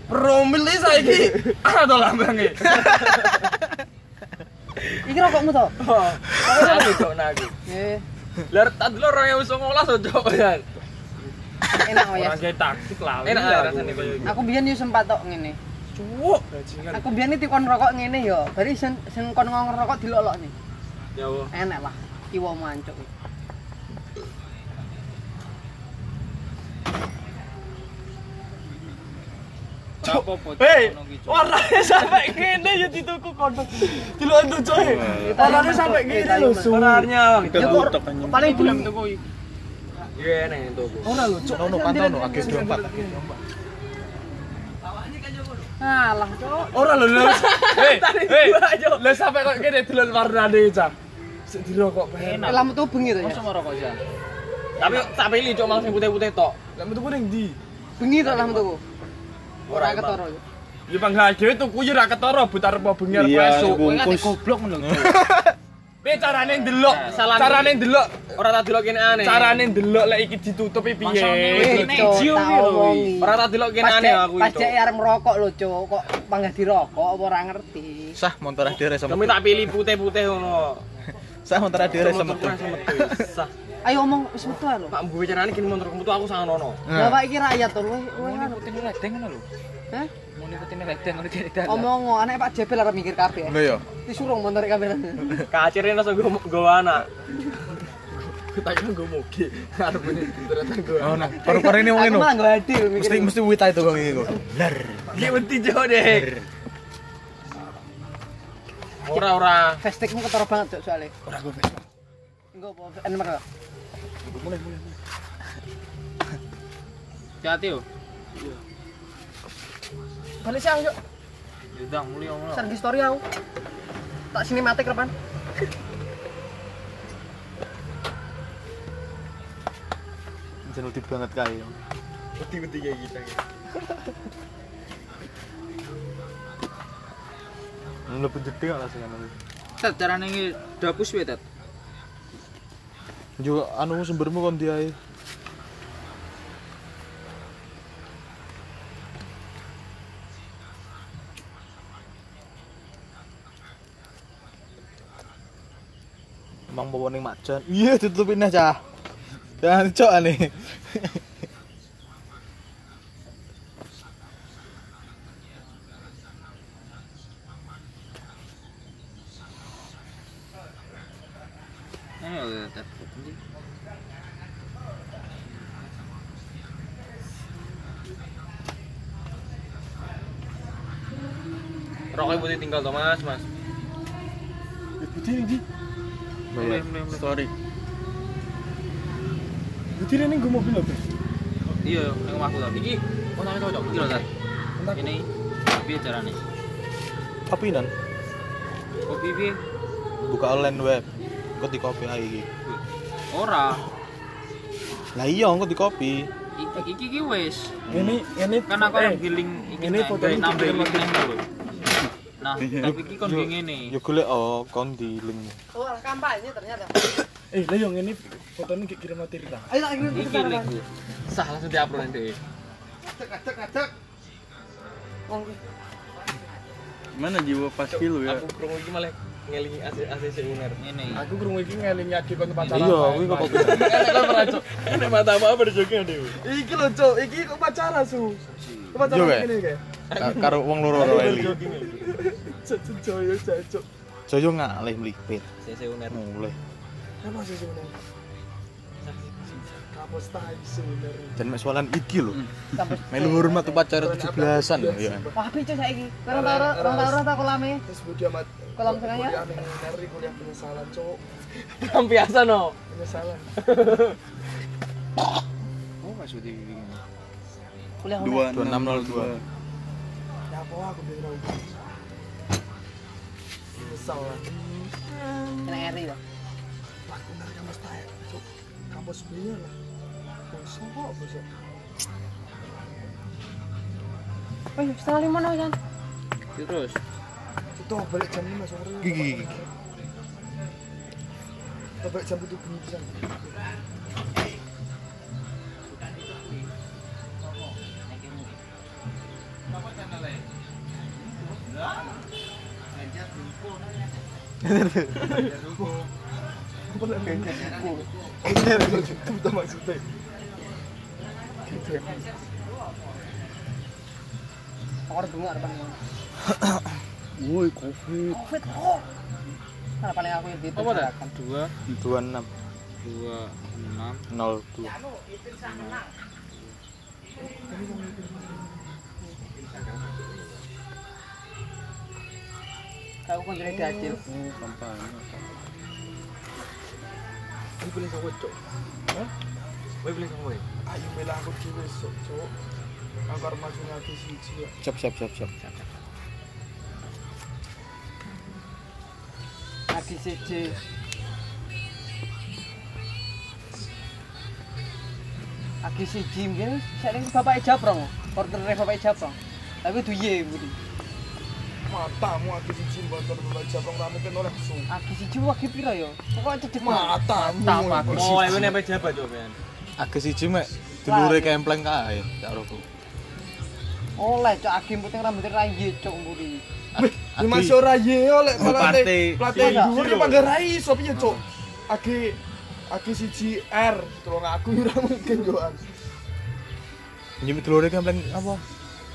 [SPEAKER 1] Promil iki saiki. Ana to lambange.
[SPEAKER 2] iki rokokmu to?
[SPEAKER 3] Aku cuk nah aku.
[SPEAKER 2] Eh,
[SPEAKER 3] Lah tadi lo orang yang usung ngolah cuk ya.
[SPEAKER 2] enak oh ya.
[SPEAKER 1] Orang kayak taktik lah.
[SPEAKER 3] Enak
[SPEAKER 1] Iya,
[SPEAKER 3] rasanya
[SPEAKER 1] aku.
[SPEAKER 3] kayak gitu.
[SPEAKER 2] Aku biyen yo sempat tok ngene.
[SPEAKER 1] Cuk, bajingan.
[SPEAKER 2] Aku biyen iki kon rokok ngene yo. Bari sen sen kon ngong rokok dilolok nih.
[SPEAKER 3] Ya apa?
[SPEAKER 2] Enak lah. Kiwa mancuk.
[SPEAKER 5] Apa pocong
[SPEAKER 1] Hei,
[SPEAKER 5] ngono ki, Cuk?
[SPEAKER 1] warnanya sampai gini ya di tuku kono. Di luar tuh coy. Warnanya sampai gini loh.
[SPEAKER 3] Benarnya.
[SPEAKER 2] Ya kok paling belum
[SPEAKER 5] tuku iki.
[SPEAKER 3] Iya enak itu aku.
[SPEAKER 1] Ora lho, cuk.
[SPEAKER 4] Nono pantau no AG 24.
[SPEAKER 2] Alah, Cuk.
[SPEAKER 1] Ora lho, lho. Hei, hei. Lah sampe kok kene delon warnane, Cak. Sik dirokok bae.
[SPEAKER 2] Eh, Lampu tuh bengi to ya.
[SPEAKER 5] Masa mau rokok Jan?
[SPEAKER 3] Tapi tak pilih cok malah sing putih-putih tok.
[SPEAKER 1] Lah metu ku ning ndi?
[SPEAKER 2] Bengi to lampu tuh. Ora
[SPEAKER 3] Ora, Bang.
[SPEAKER 2] ketara. Cuk.
[SPEAKER 1] Ya panggah dhewe tuku ya ra ketara butar apa bengi arep
[SPEAKER 6] Iya, Bu.
[SPEAKER 1] esuk.
[SPEAKER 5] Kowe
[SPEAKER 6] Bungkus.
[SPEAKER 5] kan goblok ngono lho.
[SPEAKER 1] Piye carane ndelok?
[SPEAKER 3] Salahnya-
[SPEAKER 1] Carane ndelok,
[SPEAKER 3] Ora tak delok kene aneh.
[SPEAKER 1] carane ndelok lek iki ditutupi
[SPEAKER 5] Maksudnya,
[SPEAKER 1] piye?
[SPEAKER 2] Eh, Cuk, tak omongi.
[SPEAKER 3] Ora tak delok kene
[SPEAKER 2] Pas
[SPEAKER 3] aneh
[SPEAKER 2] cek-
[SPEAKER 3] aku
[SPEAKER 2] Pas
[SPEAKER 3] itu.
[SPEAKER 2] cek arep merokok lho, Cuk. Kok panggah dirokok apa ora ngerti.
[SPEAKER 4] Sah montara dire
[SPEAKER 3] Kami
[SPEAKER 4] sama.
[SPEAKER 3] tak pilih putih-putih ngono.
[SPEAKER 4] Sah montara dire sama.
[SPEAKER 3] Metu-metu nang metu. Sah.
[SPEAKER 2] Ayo omong wis metu
[SPEAKER 4] Nah.
[SPEAKER 2] ae lho.
[SPEAKER 3] Mak mbok bicarane kene motor metu aku sangan ono.
[SPEAKER 2] Lah pak iki rakyat to, luwe luwe
[SPEAKER 5] Mau
[SPEAKER 2] anu.
[SPEAKER 5] ngikutin ledeng ngono lho.
[SPEAKER 2] Hah?
[SPEAKER 5] Mau ngikutin ledeng ngono tidak.
[SPEAKER 2] Omong aneh Pak Jebel arep mikir kabeh.
[SPEAKER 4] Ngono ya.
[SPEAKER 2] Disurung mau tarik kamera.
[SPEAKER 3] Kacire nang go go anak.
[SPEAKER 1] Tak kira gue moge. Arep ini ternyata gue.
[SPEAKER 4] Oh nah, paru-paru ini
[SPEAKER 2] Aku
[SPEAKER 4] mungkin no.
[SPEAKER 2] malah nggak hadir mikir.
[SPEAKER 4] Mesti mesti wita itu kok ini kok.
[SPEAKER 3] Ki mesti jauh deh. Ora ora.
[SPEAKER 2] Festikmu ketara banget cok soalnya. Ora gue Enggak apa enak kok.
[SPEAKER 5] Hati-hati yo.
[SPEAKER 2] Balik siang cok.
[SPEAKER 5] Yudang muli omong.
[SPEAKER 2] Sergi story aku. Tak sinematik repan.
[SPEAKER 6] Jangan lebih banget kayak.
[SPEAKER 3] Putih-putih kayak gitu.
[SPEAKER 6] Lebih gede nggak lah sih kan?
[SPEAKER 5] Tet carane iki dapus wae tet.
[SPEAKER 6] Juga anu sumbermu kon dia.
[SPEAKER 4] Emang bawa ning macan. Iya ditutupin aja. Dan cok aneh.
[SPEAKER 5] Ini yo tet.
[SPEAKER 3] Rokoknya putih tinggal to Mas, Mas.
[SPEAKER 6] Sorry.
[SPEAKER 5] Iya, yo, ning omahku tapi.
[SPEAKER 3] Iki ono itu cocok.
[SPEAKER 5] Iki lho tet. Ini piye carane?
[SPEAKER 4] Tapi nan
[SPEAKER 5] Kopi piye?
[SPEAKER 4] buka online web. Kok di copy ae iki.
[SPEAKER 5] Ora.
[SPEAKER 4] Lah iya kok di copy.
[SPEAKER 5] Iki- Iki iki wis.
[SPEAKER 1] Ini ini
[SPEAKER 5] Kan aku
[SPEAKER 1] eh,
[SPEAKER 5] orang giling iki
[SPEAKER 1] ini foto ini
[SPEAKER 5] nambah
[SPEAKER 1] dikirim
[SPEAKER 5] link nang lho. Nah, tapi iki kon ngene.
[SPEAKER 4] Yo golek oh kon di link.
[SPEAKER 2] Oh kampanye ternyata.
[SPEAKER 1] Eh, lah yang ini foto ini kirim no Tirta.
[SPEAKER 2] Ayo tak kirim
[SPEAKER 5] Iki link.
[SPEAKER 2] kita.
[SPEAKER 3] Sah langsung diupload nanti.
[SPEAKER 2] Wong
[SPEAKER 6] Mana jiwa pas lu ya?
[SPEAKER 3] Aku krungu iki malah ngelingi AC-AC uner.
[SPEAKER 5] Ngene.
[SPEAKER 1] Aku krungu iki ngelingi adi kon pacaran.
[SPEAKER 4] Iya, kuwi kok copy.
[SPEAKER 1] Enak kan ora, Cuk?
[SPEAKER 3] Ini mata apa berjoget dewe.
[SPEAKER 1] Iki lho, Cuk. Iki kok pacaran, Su. Kok pacaran
[SPEAKER 4] Iya,
[SPEAKER 1] ngene kae.
[SPEAKER 4] Ka- Karo wong loro loro eli.
[SPEAKER 1] Cuk, cuk, cuk, ya, cuk, cuk.
[SPEAKER 4] Joyo ngalih mlipit.
[SPEAKER 3] CC uner.
[SPEAKER 4] Mulih.
[SPEAKER 1] Kenapa sih sebenarnya? Kapos tai sebenarnya.
[SPEAKER 4] Dan mek soalan iki lho.
[SPEAKER 2] sampai.
[SPEAKER 4] Melu hormat tuh pacar 17-an lho ya.
[SPEAKER 2] Wah picu saiki. Kurang tau ora- kurang tau ora tak kolame.
[SPEAKER 1] Terus budi amat.
[SPEAKER 2] Kolam tengah ya?
[SPEAKER 1] Kuliah ning Neri, kuliah penyesalan, Cuk.
[SPEAKER 3] Kan Biasa no.
[SPEAKER 1] Penyesalan.
[SPEAKER 5] Oh, maksud iki.
[SPEAKER 2] Kuliah
[SPEAKER 6] Dua
[SPEAKER 2] online.
[SPEAKER 4] 2602.
[SPEAKER 1] Ya apa aku bingung. Menyesal lah.
[SPEAKER 2] Enak eri to.
[SPEAKER 1] Pak bener kampus
[SPEAKER 2] E,
[SPEAKER 1] tai. Cuk, kampus
[SPEAKER 2] ya,
[SPEAKER 1] biar lah. Bosok kok, bosok.
[SPEAKER 2] Wih setengah lima no kan.
[SPEAKER 5] Terus
[SPEAKER 1] Itu balik jam 5 sore.
[SPEAKER 4] Gigi, gigi.
[SPEAKER 1] Kita Balik jam 7 bengi pisan. Boleh ganjar ruko. Ganjar ruko, itu maksudnya. Ganjar.
[SPEAKER 2] Aku harus bengok depan.
[SPEAKER 6] Woi, covid.
[SPEAKER 2] Covid kok. Nah, paling aku yang
[SPEAKER 5] apa dah?
[SPEAKER 2] diperkirakan.
[SPEAKER 5] 2
[SPEAKER 4] 2602.
[SPEAKER 5] 2 6
[SPEAKER 2] Aku kan kunjungi di Acil.
[SPEAKER 1] Ini pilih sawit, Cok. Hah?
[SPEAKER 3] Woi beli kamu ya.
[SPEAKER 1] Ayo bela aku dhewe sok, Cuk. Angkar maju lagi siji. ya.
[SPEAKER 4] siap siap siap siap
[SPEAKER 2] lagi siji lagi siji mungkin sering bapak Jabrong ordernya bapak Jabrong tapi duye budi
[SPEAKER 1] Matamu aku siji mboten membaca wong ra mungkin oleh sung.
[SPEAKER 2] lagi siji wagi piro yo pokoknya cedek banget.
[SPEAKER 1] Matamu.
[SPEAKER 2] Matamu aku
[SPEAKER 3] Oh, ini apa jabat coba men?
[SPEAKER 4] agak siji mek dulure kempleng kae gak rohku
[SPEAKER 2] oleh cok agi puting rambutnya rayi cok budi
[SPEAKER 1] Ini masih ora ye oleh
[SPEAKER 4] Pelatih.
[SPEAKER 1] pelatih pelatih
[SPEAKER 2] Iya.
[SPEAKER 1] dhuwur iki manggarai sop piye, Cuk. Age age siji R, tolong aku ora mungkin joan.
[SPEAKER 4] nyimpen dulure kempleng apa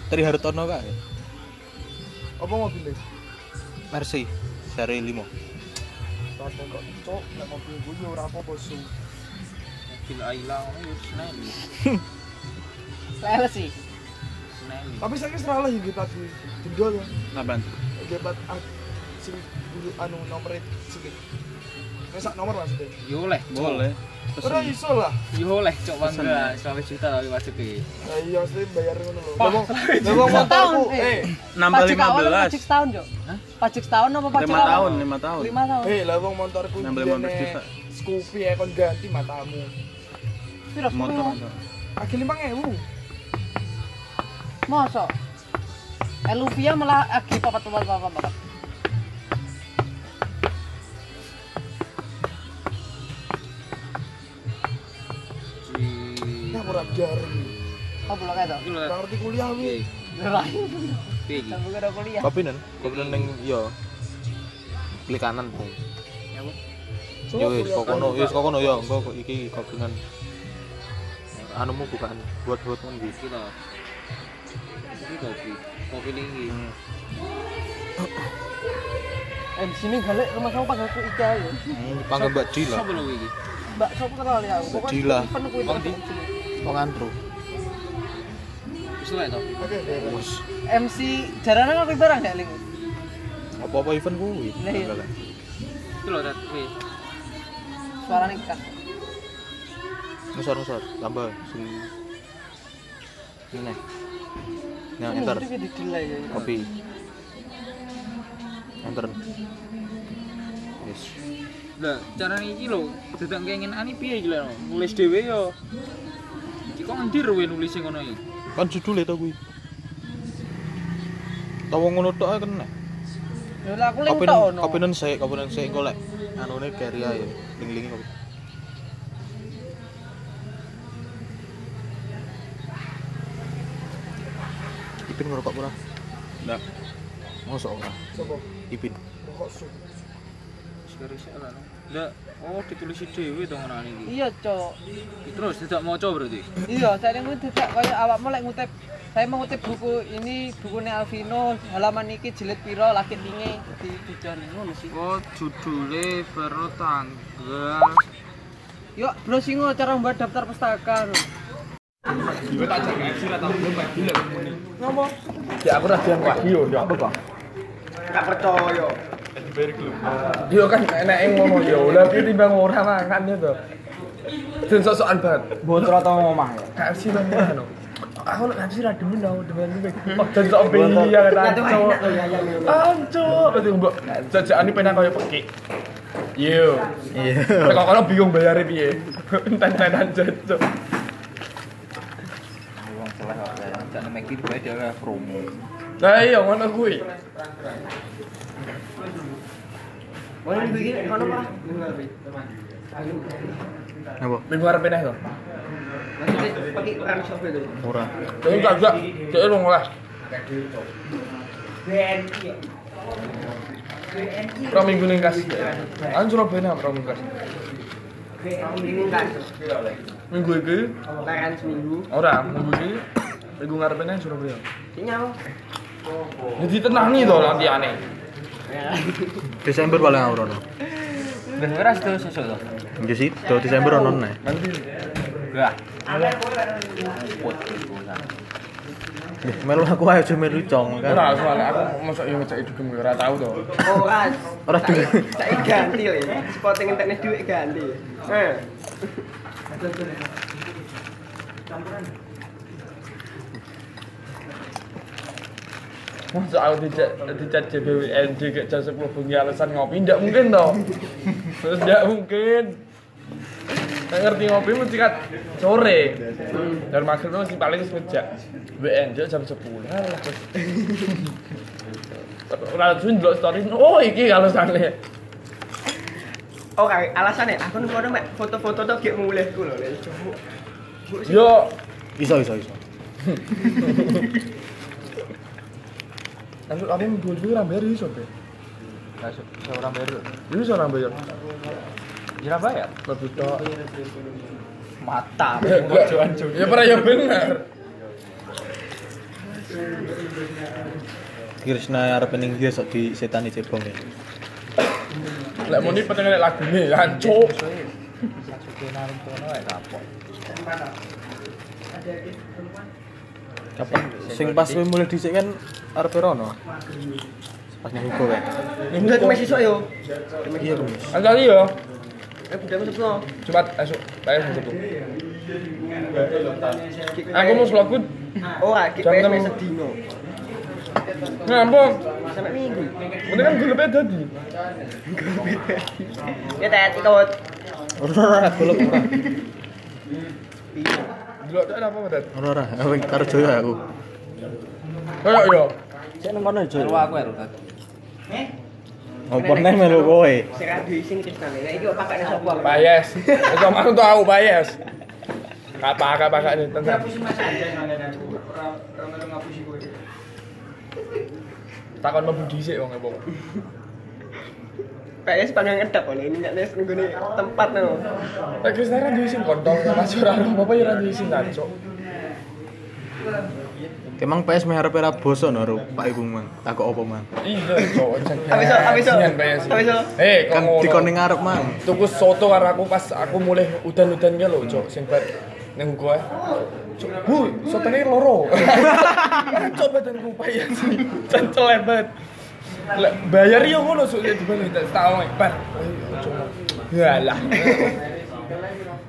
[SPEAKER 4] Tri Hartono kae
[SPEAKER 1] Apa mobilnya?
[SPEAKER 4] Mercy seri 5
[SPEAKER 1] Tonton kok, Cuk, nek mobil gue ya ora apa-apa sung.
[SPEAKER 3] Mobil Aila ngono yo seneni,
[SPEAKER 2] leles sih
[SPEAKER 3] seneni.
[SPEAKER 1] Tapi saya serah lah ya gitu tadi. Dendol ya.
[SPEAKER 6] Apaan?
[SPEAKER 1] Jabat ak- sing dulu anu nomor sing. Nek sak nomor maksudnya.
[SPEAKER 5] Yo leh, Cok.
[SPEAKER 6] Boleh.
[SPEAKER 1] Ora iso lah.
[SPEAKER 5] Yo leh, cok
[SPEAKER 6] Pesen.
[SPEAKER 5] bangga. Selawe juta tapi wajib iki.
[SPEAKER 1] Lah iya sih bayar ngono lho. Lah wong lah wong
[SPEAKER 2] Setahun,
[SPEAKER 1] motorku
[SPEAKER 2] eh.
[SPEAKER 1] eh
[SPEAKER 6] Nambah
[SPEAKER 2] pajak awal apa
[SPEAKER 6] 15.
[SPEAKER 2] pajak setahun cok pajak setahun apa pajak
[SPEAKER 6] lima
[SPEAKER 2] awal?
[SPEAKER 6] tahun, lima tahun.
[SPEAKER 2] lima tahun
[SPEAKER 1] eh lah wong motorku
[SPEAKER 6] Nambah
[SPEAKER 1] jane
[SPEAKER 6] 15 juta.
[SPEAKER 1] Scoopy eh kon ganti matamu.
[SPEAKER 2] piro
[SPEAKER 6] Motor.
[SPEAKER 2] motor
[SPEAKER 1] Akeh 5000.
[SPEAKER 2] mosok Eluvia malah agi papat papat papat papat
[SPEAKER 1] Nah ora jarang.
[SPEAKER 2] apa lo kayak itu
[SPEAKER 1] Ora ngerti kuliah wi.
[SPEAKER 2] lelah
[SPEAKER 5] Piye iki?
[SPEAKER 2] tapi udah kuliah
[SPEAKER 4] kopi nen kopi nen ning yo klik kanan Bro.
[SPEAKER 1] Cuk,
[SPEAKER 4] yo wis
[SPEAKER 1] kuliah
[SPEAKER 4] kokono
[SPEAKER 1] kan.
[SPEAKER 4] wis kokono yo engko kok iki kopi nen anumu bukaan buat buat kan
[SPEAKER 2] Eh,
[SPEAKER 4] gitu
[SPEAKER 5] Iki to. Iki kopi. Kopi ini.
[SPEAKER 2] Hmm. eh di sini galak rumah kamu panggil aku Ika ya
[SPEAKER 4] panggil mbak Dila
[SPEAKER 5] Sopo lu iki?
[SPEAKER 2] mbak sopo kenal ya aku
[SPEAKER 4] Dila.
[SPEAKER 2] penuh kuih
[SPEAKER 5] Bang, di.
[SPEAKER 4] wong antro
[SPEAKER 5] Wis leh to.
[SPEAKER 1] Oke, oke.
[SPEAKER 4] wes
[SPEAKER 2] MC jarana ngapain barang gak Ling?
[SPEAKER 4] apa-apa event kuwi
[SPEAKER 2] Lah, iya.
[SPEAKER 5] Iki lho Red. Kuwi.
[SPEAKER 2] suaranya kita
[SPEAKER 4] ngesor ngesor tambah sing ini nah
[SPEAKER 2] ini
[SPEAKER 4] enter
[SPEAKER 2] maksudnya kayak di delay ya
[SPEAKER 4] kopi enter yes
[SPEAKER 5] Lah, carane iki lho, dadak keinginane piye iki lho. Nulis dhewe yo. Iki kok ngendir we nulis sing ngono iki.
[SPEAKER 4] kan judulnya tau kuwi tau ngono tok ae kena
[SPEAKER 2] Ya lah aku Ling
[SPEAKER 4] kopi
[SPEAKER 2] tau no
[SPEAKER 4] nen kopi nen sik kopi nen sik engko lek anune keria ya ling-lingi kopi Ipin ngerokok murah?
[SPEAKER 6] Nggak.
[SPEAKER 4] Masa ora?
[SPEAKER 1] Sopo?
[SPEAKER 4] Ipin.
[SPEAKER 1] Rokok sung.
[SPEAKER 5] Sekarang sik lah. Lah, oh ditulis dhewe to ngono iki.
[SPEAKER 2] iya cok
[SPEAKER 5] Terus dadak maca berarti.
[SPEAKER 2] iya saya ini tidak kayak awakmu lagi ngutip saya mengutip buku ini bukunya Alvino halaman iki jilid piro laki tinggi di bicara ngono sih
[SPEAKER 5] Oh, judule baru tanggal
[SPEAKER 2] yuk bro singo cara membuat daftar pustaka lho.
[SPEAKER 1] Dia kan enak yang ngomong ya, lah dia tiba ngora makan ya tuh. Dan sok-sokan banget. Bocor atau ngomah ya? KFC lah ya. no. Aku nak KFC lah dulu tau, dengan lu Oh, dan sok beli ya kan anco. Anco, berarti mbok jajakan ini pengen kaya peki. Yo. Iya. Kok kono bingung bayare piye? Enten-entenan jajan.
[SPEAKER 2] gitu,
[SPEAKER 1] Nah iya ngono kuwi.
[SPEAKER 4] Apa?
[SPEAKER 1] Minggu arep pindah to.
[SPEAKER 4] Murah.
[SPEAKER 1] Jadi enggak enggak, jadi lu ngolah. Rong minggu ning kas. Kan Surabaya nang rong minggu kas. Minggu iki
[SPEAKER 2] seminggu
[SPEAKER 1] ora, minggu iki minggu ngarepe nang Surabaya. Jadi tenang nih to latiane.
[SPEAKER 4] Desember paling ora ono.
[SPEAKER 3] Ben ora sedo sesuk to.
[SPEAKER 4] Ya sih, do Desember ono neh.
[SPEAKER 1] Nanti
[SPEAKER 3] Lah,
[SPEAKER 4] Ih, Melu aku ae aja melu cong
[SPEAKER 1] ora
[SPEAKER 4] kan.
[SPEAKER 1] soalnya aku mosok yo ngejak hidup gue ora tau to.
[SPEAKER 4] Ora dulu.
[SPEAKER 2] saya ganti lho ya spotting teknis duit ganti
[SPEAKER 1] Masa aku dicat dicat JBWN kayak jam 10 bunyi alasan ngopi ndak mungkin toh. Terus ndak mungkin. Nggak ngerti ngopi mesti kan sore. Dan maghrib itu mesti paling sejak WN jam 10 lah. terus. Ora sun delok story. Oh, iki alasane.
[SPEAKER 7] Oh, kayak alasannya aku nemu ada Mek, foto-foto tuh kayak mulai aku loh. Lek, cowok.
[SPEAKER 1] Yo,
[SPEAKER 4] Iso iso iso.
[SPEAKER 1] Lalu kamu dua dua rambai hari iso deh. Saya orang bayar. Iso orang bayar. Iya bayar. Lebih tok.
[SPEAKER 5] mata
[SPEAKER 1] Ya pernah ya benar.
[SPEAKER 4] Krishna arep ning dia sok di setan cebong ya.
[SPEAKER 1] Lek mau nih penting lagu nih, hancur.
[SPEAKER 4] Kapan sing pas kowe mulai dhisik kan arep rono. Pas nang Hugo kan.
[SPEAKER 7] Udah tuh masih sok yo.
[SPEAKER 4] Iya, Mas.
[SPEAKER 1] Angkat yo.
[SPEAKER 7] Eh, udah masuk no.
[SPEAKER 1] Jumat esok, bayar satu. Aku mau selaku
[SPEAKER 7] Oh, kayak
[SPEAKER 1] Jam
[SPEAKER 7] PS
[SPEAKER 1] enam.
[SPEAKER 7] sedino.
[SPEAKER 1] ngampung.
[SPEAKER 7] Sampai minggu.
[SPEAKER 1] Mending kan gue lebih tadi.
[SPEAKER 7] Ya tet ikut.
[SPEAKER 4] Ora ora golek ora.
[SPEAKER 1] Dulu ada apa tadi?
[SPEAKER 4] Ora ora, aku karo Joyo aku.
[SPEAKER 1] Kayak yo.
[SPEAKER 4] Sik nang kono Joyo.
[SPEAKER 5] Kalau aku ya Rod.
[SPEAKER 4] Opo neh melu kowe?
[SPEAKER 7] Sing di sing Kristane. Lah iki kok pakane sapa?
[SPEAKER 1] Bayes. Itu mana tuh aku bayes. Apa apa apa ini tentang. Takon mau budi sih, wong e, ebong.
[SPEAKER 7] PS pengen ngedap oleh ini nek nggone tempat no.
[SPEAKER 1] Lek wis ora duwe sing kontol, ora ora apa-apa ya ora duwe sing kacok.
[SPEAKER 4] Emang PS meh arep ra boso no Rup, Pak Ibu mang. Takok opo mang?
[SPEAKER 1] Iya, cok.
[SPEAKER 7] Habis so, habis so. Habis so.
[SPEAKER 1] Eh, kok
[SPEAKER 4] Kan dikon ning ngarep mang.
[SPEAKER 1] Tuku soto karo aku pas aku mulai udan-udan ke lho, cok, sing bar ning gua. Cok, bu, sotone loro. Cok badanku payah sih. Cancel banget. Lek bayar yo ngono sok di bali tak tau bar. Yalah.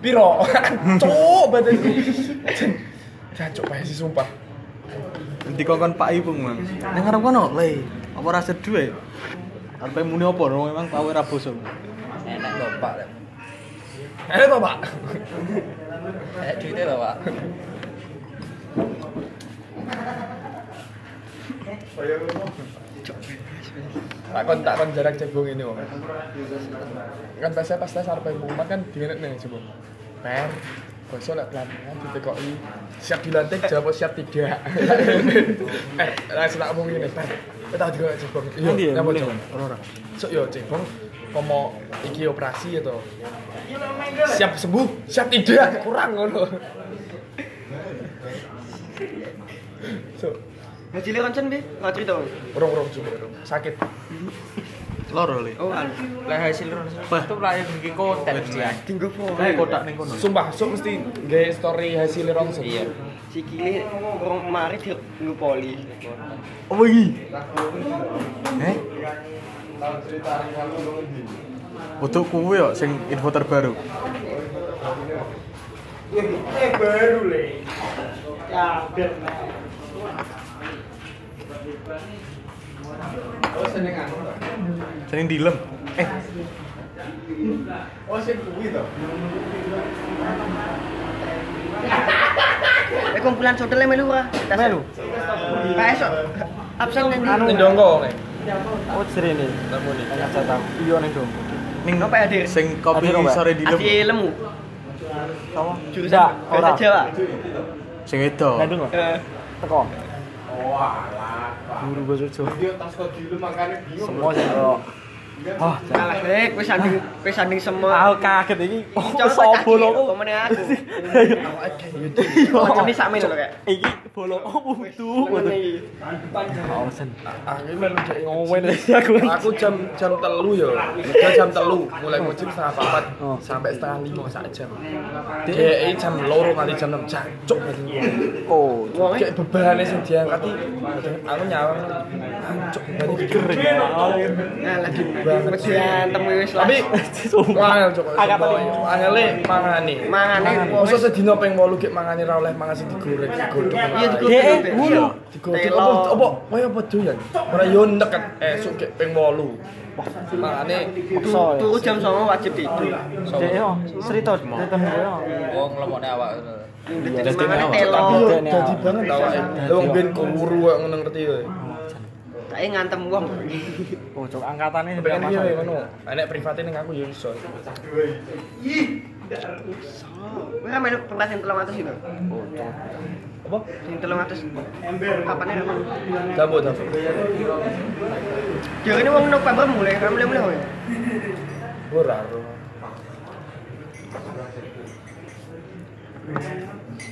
[SPEAKER 1] Piro? Cok badanku. Cacok payah sih sumpah.
[SPEAKER 4] Dikon Pak Ibu mang. Nang ngarep kono le. Apa ra sedu e? Arepe muni opo no memang kowe ra boso.
[SPEAKER 1] Enak to, Pak. Enak to, Pak.
[SPEAKER 5] Eh, duitnya loh, Pak.
[SPEAKER 1] Tak kon tak kon jarak cebong ini wong. Kan biasanya pas tes arep pengumuman kan diinget nih cebong. Per besok lek pelatihan ditekoki siap dilantik jawab siap tidak. eh langsung tak omong ngene, per. Kita juga cebong. Iya,
[SPEAKER 4] Nanti ya,
[SPEAKER 1] nyapa,
[SPEAKER 4] boleh,
[SPEAKER 1] Cok?
[SPEAKER 4] Bang. Ora ora.
[SPEAKER 1] Sok yo cebong komo iki operasi ya to. Siap sembuh, siap tidak, kurang ngono. So,
[SPEAKER 7] Ngajile koncen piye? Nggak cerita. Bang?
[SPEAKER 1] urung-urung cebong, urung. sakit.
[SPEAKER 4] Loro le.
[SPEAKER 7] Oh, anu.
[SPEAKER 5] Lah hasil itu lah yang bikin konten ya.
[SPEAKER 7] Dinggo po.
[SPEAKER 4] kotak ning kono.
[SPEAKER 1] Sumpah, sok mesti gaya story hasil rongsok. Iya.
[SPEAKER 7] Sikile wong mari di nggo poli.
[SPEAKER 4] Apa iki? Eh? Untuk kuwe yo sing info terbaru. Oh, Sing dilem. Eh,
[SPEAKER 7] Eh kumpulan sodele melu ora? Melu. PS kok absen nanti. Anu,
[SPEAKER 1] Ini dongko, oke.
[SPEAKER 5] Oh,
[SPEAKER 4] ning
[SPEAKER 7] Apa ya, Dik?
[SPEAKER 4] Sing kopi sore dilem.
[SPEAKER 7] Adi lemu. Jurusan bahasa Jawa.
[SPEAKER 4] Sing wedo.
[SPEAKER 7] Eh,
[SPEAKER 5] Semua sih loh. Wah,
[SPEAKER 7] Alah, rek, wis sanding, wis sanding semua.
[SPEAKER 5] aku kaget ini. Oh,
[SPEAKER 7] Coba
[SPEAKER 5] soal
[SPEAKER 7] kaki,
[SPEAKER 5] bolong
[SPEAKER 7] kok meneh aku.
[SPEAKER 5] Iya.
[SPEAKER 7] Macam ini sak mil kayak.
[SPEAKER 5] Iki bolong oh butuh.
[SPEAKER 1] Aku ini melu kayak ngowen. Aku jam jam telu ya. Jam jam telu mulai ngojek setengah papat sampai setengah lima sak jam. Dia jam loro kali jam enam jancuk.
[SPEAKER 5] Oh,
[SPEAKER 1] Kayak bebannya sing "Ah, Oh, diangkat iki, aku nyawang jancuk beban iki.
[SPEAKER 7] Alah, gimana? Mejian temu wis lah.
[SPEAKER 1] Tapi wah cok. Angele mangane.
[SPEAKER 7] Mangane
[SPEAKER 1] Masa sedina ping 8 gek mangane ra oleh mangan sing digoreng, digodhog.
[SPEAKER 7] Iya
[SPEAKER 1] Iya,
[SPEAKER 7] digodhog. Ngono.
[SPEAKER 1] digodhog. Apa apa kaya apa doyan. Ora yo neket esuk gek ping 8. Mangane
[SPEAKER 7] Turu jam 09.00 wajib tidur.
[SPEAKER 3] Wong lemokne awak.
[SPEAKER 7] Mangane telo.
[SPEAKER 1] tapi yo dadi banget tau awake. Lah wong ben kuru kok ngono ngerti yo.
[SPEAKER 7] Kayak ngantem wong.
[SPEAKER 1] Pengen piye ngono. Enek Ah, private ning aku yo iso.
[SPEAKER 7] Ora melu tempat yang 300 itu.
[SPEAKER 1] Apa?
[SPEAKER 7] Yang 300. Kapane ra mau?
[SPEAKER 1] Dapur dapur.
[SPEAKER 7] Jarene wong November mulai, ra mulai-mulai kowe.
[SPEAKER 1] Ora ro.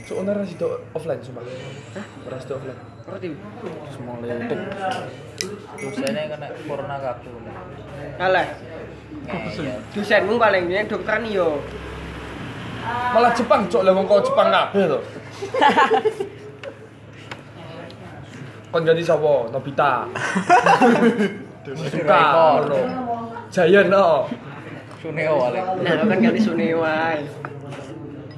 [SPEAKER 1] So owner sih do offline sumpah. Ora sih offline.
[SPEAKER 7] Ngerti?
[SPEAKER 3] Dosene
[SPEAKER 2] kan
[SPEAKER 3] kena corona kabeh.
[SPEAKER 7] Alah, dosenmu paling ini dokteran yo.
[SPEAKER 1] Malah Jepang cok lah wong kok Jepang kabeh to. Kon ganti sapa? Nobita. Suka. ngono. Jayan no.
[SPEAKER 3] Suneo oleh.
[SPEAKER 7] Nah, lo kan ganti Suneo wae.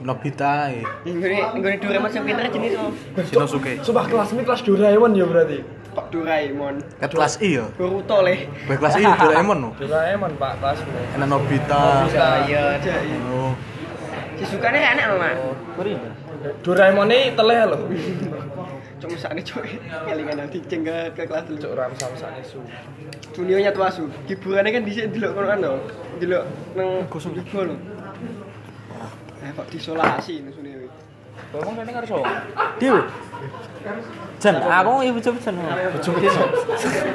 [SPEAKER 4] Nobita eh.
[SPEAKER 7] Nggone nggone Doraemon sing pinter jenis to.
[SPEAKER 4] Shinosuke.
[SPEAKER 1] Sumpah kelas ini kelas Doraemon ya berarti.
[SPEAKER 7] Kok Doraemon.
[SPEAKER 4] Kat kelas I ya.
[SPEAKER 7] Boruto le.
[SPEAKER 4] Kat kelas I Doraemon no.
[SPEAKER 1] Doraemon Pak kelas.
[SPEAKER 4] Enak Nobita.
[SPEAKER 1] Ah, Nah,
[SPEAKER 7] Jaya.
[SPEAKER 4] Oh.
[SPEAKER 7] Sisukane enak lho, Mas.
[SPEAKER 1] Doraemon ini teleh lho.
[SPEAKER 7] Cuma sakne cuk. Kelingan nanti cenggat ke kelas dulu.
[SPEAKER 1] Cok ram samsane su.
[SPEAKER 7] Dunionya tua su. Hiburannya kan dhisik delok ngono kan to. Delok nang Yogo lho. Eh kok disolasi nang Suneo iki.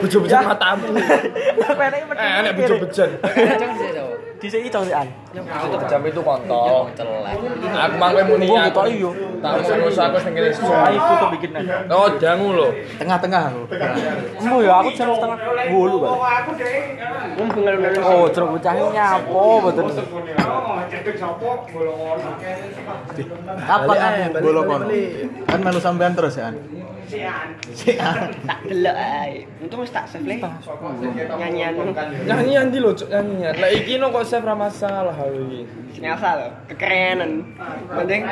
[SPEAKER 1] Bojo-bojo matamu. Eh, enek bojo-bojo. jam itu kontol aku mang kowe muni aku tak mau nusa aku sing kene susu ayo foto bikin oh jangu lho
[SPEAKER 4] Tengah-tengah Oh, aku.
[SPEAKER 7] Wong bengal Oh, ceruk
[SPEAKER 4] Apa kan bolo kono? Kan melu sampean terus ya. An?
[SPEAKER 7] tak delok ae. Untung wis tak save le. Nyanyian
[SPEAKER 1] nyanyian di lho cuk nyanyian lah iki no kok chef ra masalah hal iki
[SPEAKER 7] nyasa loh kekerenan penting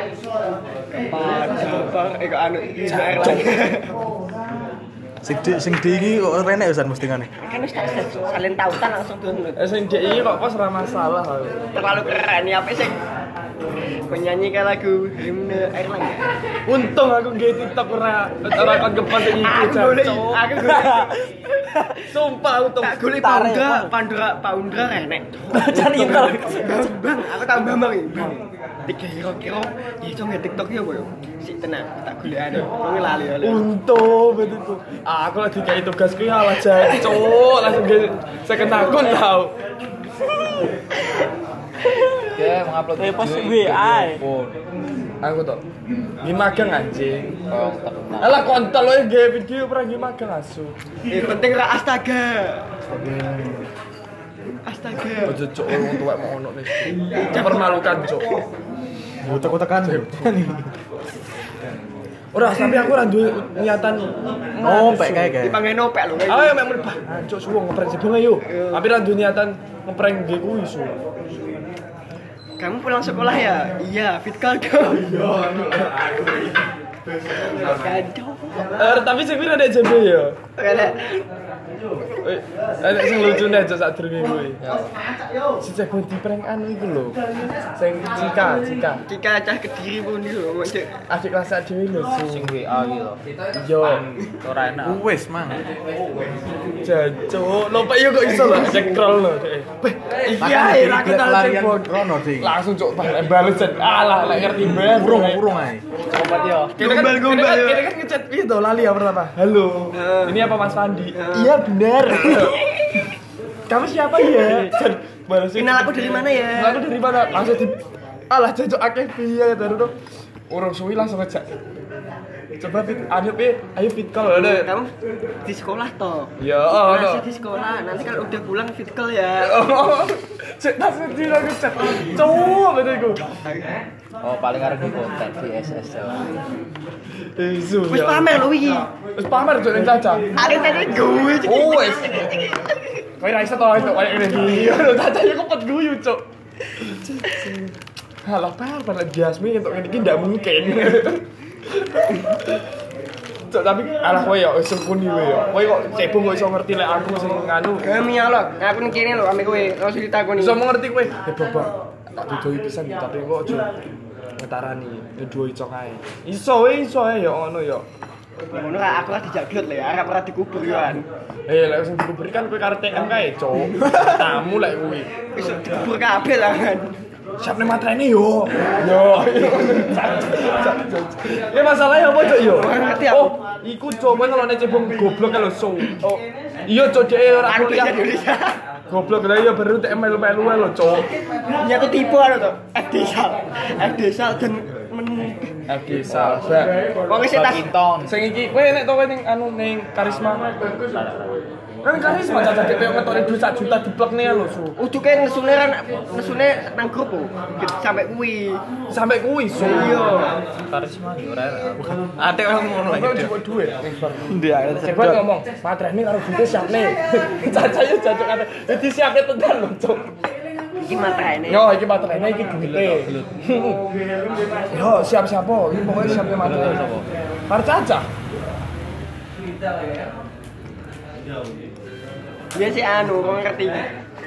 [SPEAKER 7] kepada eh kok anu Israel lagi
[SPEAKER 4] Sing di sing di iki kok renek usan mestingane.
[SPEAKER 7] kan harus tak set, salin tautan langsung download
[SPEAKER 1] eh sing dek iki kok kos ra masalah hal iki.
[SPEAKER 7] terlalu keren ya apa sih menyanyikan lagu himne Airlangga
[SPEAKER 1] untung aku nggih TikTok ora ora kon kepan iki
[SPEAKER 7] aku
[SPEAKER 1] Jan,
[SPEAKER 7] boleh
[SPEAKER 1] Cuk.
[SPEAKER 7] aku boleh
[SPEAKER 1] sumpah untung
[SPEAKER 7] tak boleh Pandra Pandra Pandra enek cari itu bang aku tahu bang bang ini, bang tiga kilo kilo ya cuma tiktok ya boyo si tenang tak boleh ada kamu lali lali
[SPEAKER 1] untung betul tuh aku lagi kayak tugas kuwi ala jan cuk langsung nggih second akun tau
[SPEAKER 3] Dia
[SPEAKER 1] Ya,
[SPEAKER 3] mengupload video. Pas
[SPEAKER 1] aku tuh ini magang anjing
[SPEAKER 3] Oh, tenang.
[SPEAKER 1] Alah kontol lo yang gaya video pernah gimana magang asu
[SPEAKER 7] eh penting lah astaga astaga
[SPEAKER 1] Ojo cok orang tua mau ono nih Mempermalukan cok
[SPEAKER 4] Utek-utekan.
[SPEAKER 1] Ora tapi aku ora duwe niatan
[SPEAKER 4] Oh, pek kae
[SPEAKER 3] gitu.
[SPEAKER 4] kae.
[SPEAKER 7] Dipanggil nopek lho. eh.
[SPEAKER 1] Ayo yang mek merbah cok suwo ngeprank sebelum ayo Tapi ora duwe niatan ngeprank gue kuwi su
[SPEAKER 7] Kamu pulang sekolah ya? Iya, fit call dong. Kacau.
[SPEAKER 1] Eh tapi sing kuwi ada JB ya
[SPEAKER 7] Kayak
[SPEAKER 1] Eh ada sing lucu nih cok saat dulu gue Si cek gue prank anu itu lho Sing Cika Cika
[SPEAKER 7] Cika cah kediri pun dulu ngomong cek.
[SPEAKER 1] Adik kelas saat dulu lho su
[SPEAKER 3] Sing WA iki lho.
[SPEAKER 1] Yo
[SPEAKER 3] Ora enak.
[SPEAKER 4] Wes mang.
[SPEAKER 1] Jancuk, lo pak iya kok iso lho, cek troll lho dek. Beh, iki ae ra kenal cek
[SPEAKER 4] Larian
[SPEAKER 1] bodoh.
[SPEAKER 4] Rono sih.
[SPEAKER 1] langsung cok bah lek bales Jan. alah lek ngerti ben
[SPEAKER 4] Urung urung ae.
[SPEAKER 1] kita kan kita kan kita kan ngechat itu lali ya pertama halo ini apa Mas Pandi iya bener kamu siapa ya Jan, balas
[SPEAKER 7] Kenal aku dari mana ya?
[SPEAKER 1] kenal aku dari mana ya, gitu, langsung di alah jancuk akeh piye terus urung suwi langsung ngejak Coba fit, ayo fit, ayo fit call ada.
[SPEAKER 7] Kamu di sekolah toh?
[SPEAKER 1] Ya, oh, no.
[SPEAKER 7] Masih di sekolah. Nanti kalau udah pulang fit call ya.
[SPEAKER 1] Oh, cek tas sendiri aku cek. Cowok bener gue.
[SPEAKER 2] Oh, paling arep di oh. konten VSS Jawa.
[SPEAKER 1] Eh,
[SPEAKER 7] Wis
[SPEAKER 1] ya
[SPEAKER 7] pamer lu iki.
[SPEAKER 1] Terus pamer cok yang caca.
[SPEAKER 7] Ada tadi gue.
[SPEAKER 1] Oh, wes. Kau raisa tau itu kayak gini. Iya, lo caca ya kepet guyu cok. Halah, pamer lagi Jasmine untuk ini tidak mungkin. Cok, tapi alah kowe yo sempuni kowe yo. Kowe kok cebong kok iso ngerti lek aku sing nganu.
[SPEAKER 7] Kami ya lo, aku nih kini lo, kami gue, lo cerita gue nih.
[SPEAKER 1] Iso mengerti kowe. Ya bapak, tak didoi pisan tapi kok aja ngetarani ngedoi cok ae. Iso we iso ae yo ngono yo.
[SPEAKER 7] Ngono lah, aku lah dijaglot lah ya, arep ora dikubur kan.
[SPEAKER 1] Eh, lek sing dikubur kan kowe karo TM kae, cok. Tamu lek kowe.
[SPEAKER 7] Wis dikubur kabeh lah kan.
[SPEAKER 1] Siap nih matreni yo. Yo. Ya Eh, masalahnya apa cok yo?
[SPEAKER 7] ngerti aku.
[SPEAKER 1] Oh, iku cok kowe kalau nek cebong goblok kalau so. Oh. Iya cok dhek ora
[SPEAKER 7] Aku bisa
[SPEAKER 1] kuliah.
[SPEAKER 7] Indonesia.
[SPEAKER 1] Goblok lah iya baru TM melu-melu ae lho cok.
[SPEAKER 7] Ini aku tipu anu tuh. FD sal. FD sal dan men
[SPEAKER 1] FG Salsa.
[SPEAKER 7] wong sing tas
[SPEAKER 1] Sing iki kowe nek tau kowe ning anu ning karisma. Kan karisma cacat dhek koyo ngetokne dhuwit sak juta diplekne ae lho so.
[SPEAKER 7] uduke nesune kan nesune nang grup oh. sampai kuwi.
[SPEAKER 1] Sampai kuwi so.
[SPEAKER 7] Iya.
[SPEAKER 3] Ate orang ngono
[SPEAKER 1] Kowe
[SPEAKER 3] iki.
[SPEAKER 1] cukup duit. Coba ngomong, matreni karo dhuwit siap nih. Cacahe jajak kata, "Jadi siapnya tenan lho, Cuk."
[SPEAKER 7] Iki matrene.
[SPEAKER 1] Yo, iki matrene iki duwite. Yo, siap siapa? Iki pokoke siap matrene. Karo caca.
[SPEAKER 7] Iya sih anu, kok ngerti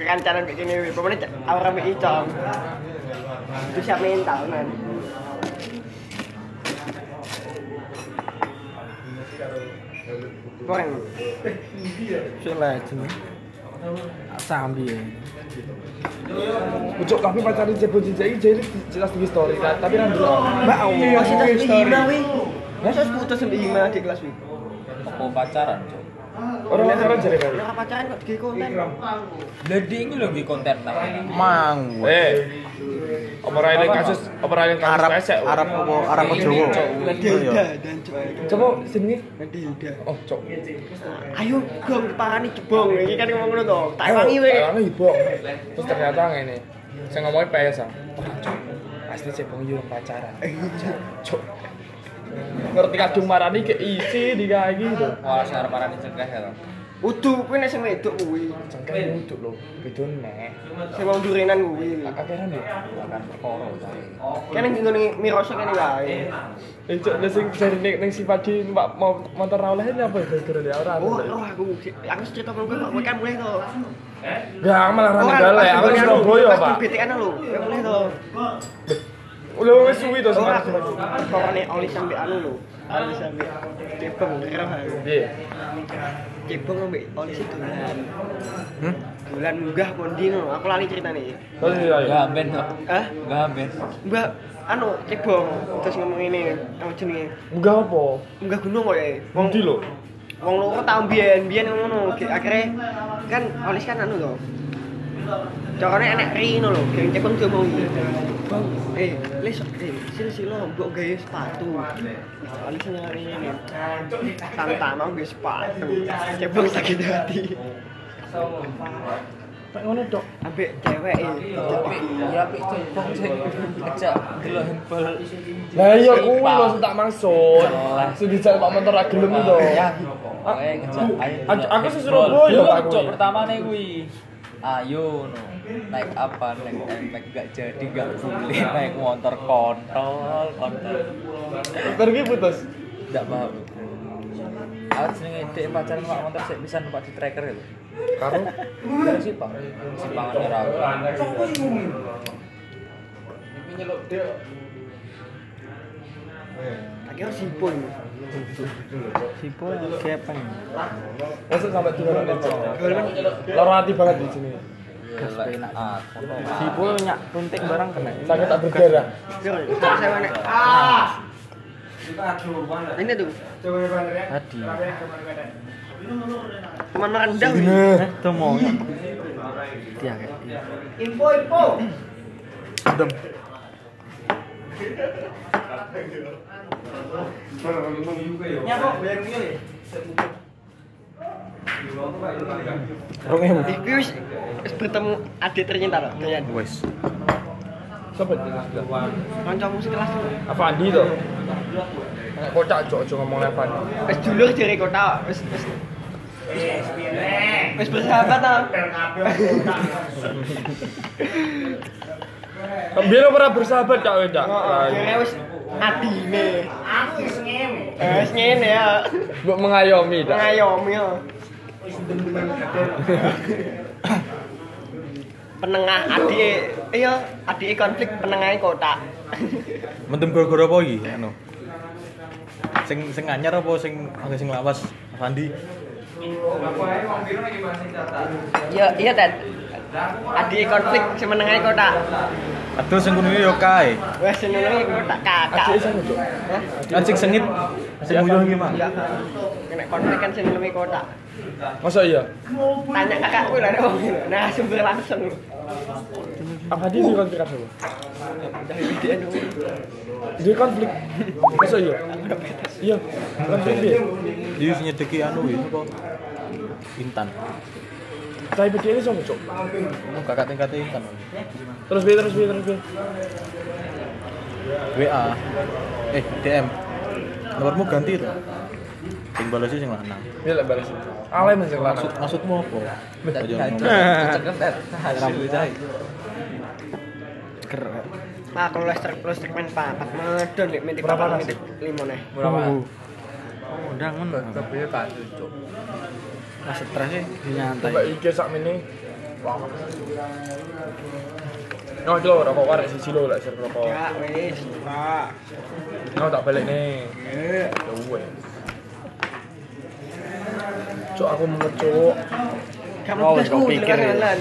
[SPEAKER 7] kancanan kayak gini, pokoknya cak- aura mbak hijau itu siap mental kan Boreng,
[SPEAKER 1] Ujuk tapi pacarin jebon jejak iki jadi jelas di story kan, tapi ra ndelok. Mbak,
[SPEAKER 7] oh sih terus lima wih Terus putus sampai lima di kelas wih
[SPEAKER 5] Apa pacaran, Cuk?
[SPEAKER 1] Orang pacaran jare kali.
[SPEAKER 7] Orang pacaran kok di konten
[SPEAKER 5] Jadi ini lho nggih konten tak.
[SPEAKER 4] Mang.
[SPEAKER 1] Eh. Apa ra eling kasus, apa ra eling kasus
[SPEAKER 4] Arab
[SPEAKER 1] esek?
[SPEAKER 4] Arab apa Arab apa Jawa?
[SPEAKER 7] Dilda dan cuy
[SPEAKER 1] Coba sini.
[SPEAKER 7] Dilda
[SPEAKER 1] Oh, cok.
[SPEAKER 7] Ayo gong parani jebong Ini kan ngomong ngono toh Tak wangi wih
[SPEAKER 1] Ayo ibu. Terus ternyata ngene. Saya ngomongin PS ah. Wah, Cok. Pasti cebong yo pacaran.
[SPEAKER 7] Eh, iya,
[SPEAKER 1] Cok. Ngerti kadung marani keisi di kayak gitu.
[SPEAKER 5] Wah, saya marani cengkeh ya. Bang.
[SPEAKER 7] Udu, kuwi nek sing wedok kuwi
[SPEAKER 1] Cengkeh nunduk lho, bedon meh.
[SPEAKER 7] Sing wong durenan kuwi
[SPEAKER 1] Akhiran ya.
[SPEAKER 7] Kan yang ngene miroso kene wae
[SPEAKER 1] Eh, Cok, lah sing jare ning ning sifat di Pak mau motor ra oleh ini apa ya gara-gara dia ora.
[SPEAKER 7] Oh, roh aku, aku cerita kok gue kan mulai tuh.
[SPEAKER 1] Enggak, malah ra ngendale. Aku
[SPEAKER 7] pas
[SPEAKER 1] Surabaya,
[SPEAKER 7] pas
[SPEAKER 1] Pak.
[SPEAKER 7] di BTN lu, kan mulai tuh.
[SPEAKER 1] Lho wis suwi to
[SPEAKER 7] Oh,
[SPEAKER 1] sekarang.
[SPEAKER 7] aku pokoknya oli sampe anu lu. Oli sampe cebong kira aku.
[SPEAKER 1] Piye?
[SPEAKER 7] Cebong sampe oli situ kan.
[SPEAKER 1] Hmm?
[SPEAKER 7] Bulan munggah kondi no, aku lali cerita nih.
[SPEAKER 1] Terus iya, iya.
[SPEAKER 5] Enggak ben kok.
[SPEAKER 7] Hah?
[SPEAKER 5] Enggak ben.
[SPEAKER 7] Mbak, anu cebong terus ngomong ini, apa jenenge?
[SPEAKER 1] Munggah apa?
[SPEAKER 7] Munggah gunung kok ya. Wong
[SPEAKER 1] Endi lho?
[SPEAKER 7] wong loro tau mbiyen, mbiyen ngono. Ge- Akhire kan olis kan anu to. Carane enek rino lho, geng cepeng dia mau iki. Bang, eh, les eh sini sih lo mbok gawe sepatu. Olis nyari ini. Tantang mau gawe sepatu. Cepeng sakit hati.
[SPEAKER 1] Tak ngono tok.
[SPEAKER 7] Ambek cewek e.
[SPEAKER 5] Ya pik cengkong sing ngejak delok handball.
[SPEAKER 1] Lah iya
[SPEAKER 5] Oh,
[SPEAKER 1] kuwi lho sing tak maksud. Sing dijak Pak Mentor ra gelem to.
[SPEAKER 7] Iya.
[SPEAKER 5] Ya. Kowe ngejak ayo.
[SPEAKER 1] Aku-
[SPEAKER 5] delok
[SPEAKER 1] aku sing
[SPEAKER 5] handball.
[SPEAKER 1] Surabaya,
[SPEAKER 5] Delok,
[SPEAKER 1] Pak,
[SPEAKER 5] Cuk,
[SPEAKER 1] kuwi.
[SPEAKER 5] pertamane kuwi. Ayo no. Naik apa naik naik enggak jadi enggak boleh naik motor kontol kontol.
[SPEAKER 1] Terus iki putus.
[SPEAKER 5] Enggak paham. Aku jenenge dek pacaran Pak Montor sik pisan Pak di tracker itu.
[SPEAKER 1] Karo
[SPEAKER 5] Dari Sipang. Sipangan ora aku.
[SPEAKER 7] Akhire sipun. Sipun kepen.
[SPEAKER 1] masuk sampai dolanan cok. Lara hati banget di sini.
[SPEAKER 5] Gas penak aku.
[SPEAKER 1] Sakit tak berdarah.
[SPEAKER 7] Yo, saya enek. Ah. Ini tuh. Tadi. Teman rendah. wih.
[SPEAKER 4] Eh, Rong ewu.
[SPEAKER 7] Iku wis wis bertemu adik ternyata loh, kalian.
[SPEAKER 4] Wes.
[SPEAKER 1] Sobat
[SPEAKER 7] Kancamu sekelas tuh.
[SPEAKER 1] apa Andi tuh? Anak kocak cok cok ngomong lepan.
[SPEAKER 7] Wis dulur dari kota, wis wis wis bersahabat tau.
[SPEAKER 1] Biar pernah bersahabat cak wedak.
[SPEAKER 7] Akhirnya wis adine. Aku wis ngene. Wis ngene ya.
[SPEAKER 1] Buat mengayomi dak.
[SPEAKER 7] Ngayomi ya. Penengah adik, iya adik konflik penengahnya kota.
[SPEAKER 4] Mentem gara-gara apa iki? Anu. Sing sing anyar apa sing agak sing lawas? Fandi.
[SPEAKER 7] Iya iya dan adik konflik semenengahnya kota.
[SPEAKER 4] Aduh sing kuning yo kae.
[SPEAKER 7] Wes senengnya kota kakak. Hah?
[SPEAKER 4] Kan sing sengit sing nguyuh iki, Mak.
[SPEAKER 7] Iya. Kena konflik kan senengnya kota.
[SPEAKER 1] Masa iya?
[SPEAKER 7] Tanya kakakku lah dong. Nah sumber langsung.
[SPEAKER 1] Apa Andi di konflik apa?
[SPEAKER 7] Dari video dulu.
[SPEAKER 1] Di konflik. Masa iya? Iya. Konflik dia.
[SPEAKER 4] Iki sing nyedeki anu iki apa? Intan.
[SPEAKER 1] Tapi bedanya ini sama cok.
[SPEAKER 4] Ono kakak tingkate Intan.
[SPEAKER 1] Terus bi terus bi terus bi.
[SPEAKER 4] WA. Eh, DM. Nomormu ganti to. Sing balesi sing lanang.
[SPEAKER 1] Dia lek balas. Alay masih kelar.
[SPEAKER 4] Maksud maksudmu apa? Aja ngomong.
[SPEAKER 7] Nah kalau lester lester main papat medon nih mitik
[SPEAKER 1] Berapa
[SPEAKER 7] papat
[SPEAKER 1] nasi?
[SPEAKER 7] mitik lima nih.
[SPEAKER 1] Berapa?
[SPEAKER 4] Nah, stres sih nyantai.
[SPEAKER 1] Mbak IG sak mini. No, cilo rokok warak sisi lo lah, sir rokok.
[SPEAKER 7] Ya wes.
[SPEAKER 1] No, tak balik nih. eh. Ya uwe. Cok, aku mumet cok.
[SPEAKER 7] Kamu
[SPEAKER 3] Wow,
[SPEAKER 7] tugas
[SPEAKER 3] kau
[SPEAKER 7] ku
[SPEAKER 3] pikir
[SPEAKER 7] dengar
[SPEAKER 3] ya.
[SPEAKER 7] jalan.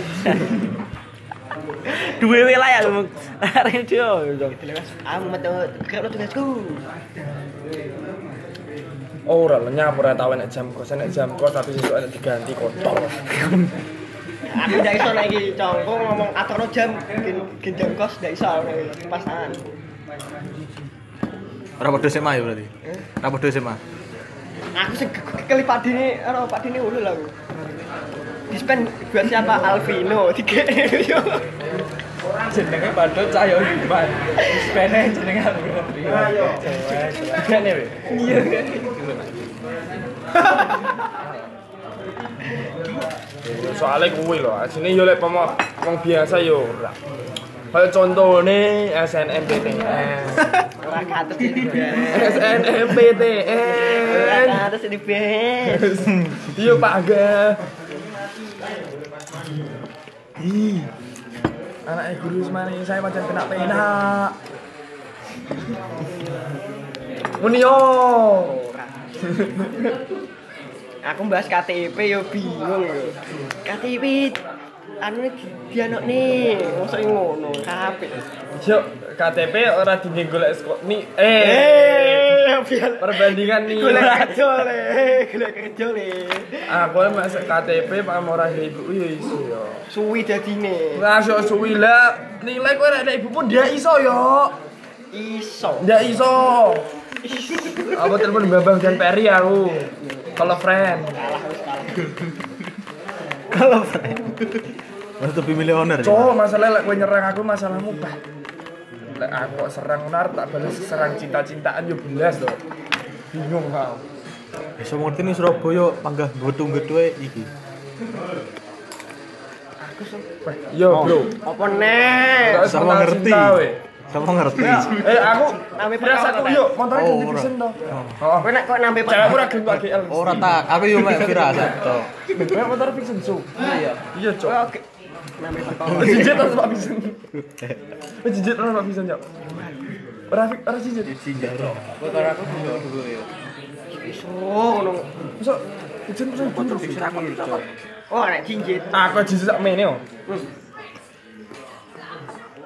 [SPEAKER 3] Dua wela ya lu.
[SPEAKER 1] gitu.
[SPEAKER 3] Radio.
[SPEAKER 7] Dilepas, Gitu Aku mau tahu kalau tugasku.
[SPEAKER 1] Oh, ora lenyap ora tau enek jam kos, enek jam kos tapi sesuk enek diganti kotor.
[SPEAKER 7] Aku tidak iso lagi congkong ngomong aturno jam gen gen jam kos tidak iso lagi pasangan.
[SPEAKER 4] Ora padha sik mah ya berarti. Ora padha sik mah.
[SPEAKER 7] Aku sing kekeli Pak Dini, ora Pak Dini ulul aku. Dispen buat siapa? Alvino. Tiga.
[SPEAKER 1] Jenenge padha cah yo hibat. Sepene jenenge aku. Ayo. Kene we. Iya. Soalnya kuwi lho, asine yo lek pomo wong biasa yo ora. Kaya contohnya SNMPTN
[SPEAKER 7] Orang kantor di band.
[SPEAKER 1] SNMPTN
[SPEAKER 7] Orang kantor di band.
[SPEAKER 1] Iya Pak Angga. Ih. Anaknya guru semani, saya macam kena penak. Munio.
[SPEAKER 7] aku bahas KTP yo bingung yo. KTP anu dia nok nih, mosok ngono kabeh.
[SPEAKER 1] Yuk, KTP ora tinggi golek sekolah. Ni eh.
[SPEAKER 7] Eh, biar
[SPEAKER 1] Perbandingan nih.
[SPEAKER 7] golek kerja le, golek kerja le.
[SPEAKER 1] Aku masuk KTP Pak Mora ibu iya iso yo.
[SPEAKER 7] Suwi dadine.
[SPEAKER 1] Masuk suwi lah. Nilai kowe rek ibu pun dia iso yo.
[SPEAKER 7] Iso.
[SPEAKER 1] Ndak iso. Apa telepon Bambang dan Peri aku. Kalau friend.
[SPEAKER 4] Kalau Mas tapi milih owner. ya?
[SPEAKER 1] Cowok masalah lek kowe nyerang aku masalahmu bah. Lek aku kok serang nar tak balas serang cinta-cintaan yo belas to. Bingung kau.
[SPEAKER 4] Bisa ngerti nih Surabaya panggah gotung gedhe iki.
[SPEAKER 1] Bah, Yo bro.
[SPEAKER 7] Apa neh?
[SPEAKER 1] Gak
[SPEAKER 4] Sama ngerti.
[SPEAKER 1] cinta we.
[SPEAKER 4] Sama ngerti.
[SPEAKER 1] Eh aku
[SPEAKER 7] Nami
[SPEAKER 1] biasa aku
[SPEAKER 7] pertama,
[SPEAKER 1] yo motornya
[SPEAKER 4] Oh,
[SPEAKER 1] ganti
[SPEAKER 4] ora.
[SPEAKER 1] pesen to.
[SPEAKER 7] Kowe nek kok nambe
[SPEAKER 1] Cewek aku ora gelem pakai L.
[SPEAKER 4] Ora tak, aku yo mek firasat to.
[SPEAKER 1] Kayak motor fiction so. Iya. Iya cok.
[SPEAKER 7] nambe
[SPEAKER 1] Jijit terus Pak Fiction. Jijit terus Pak Fiction cok. Ora ora jijit.
[SPEAKER 7] iso
[SPEAKER 1] Oh,
[SPEAKER 7] ngono.
[SPEAKER 1] Masuk izin pesen dulu.
[SPEAKER 7] Oh, nek jinjit.
[SPEAKER 1] Aku Ah, jijik sak mene yo.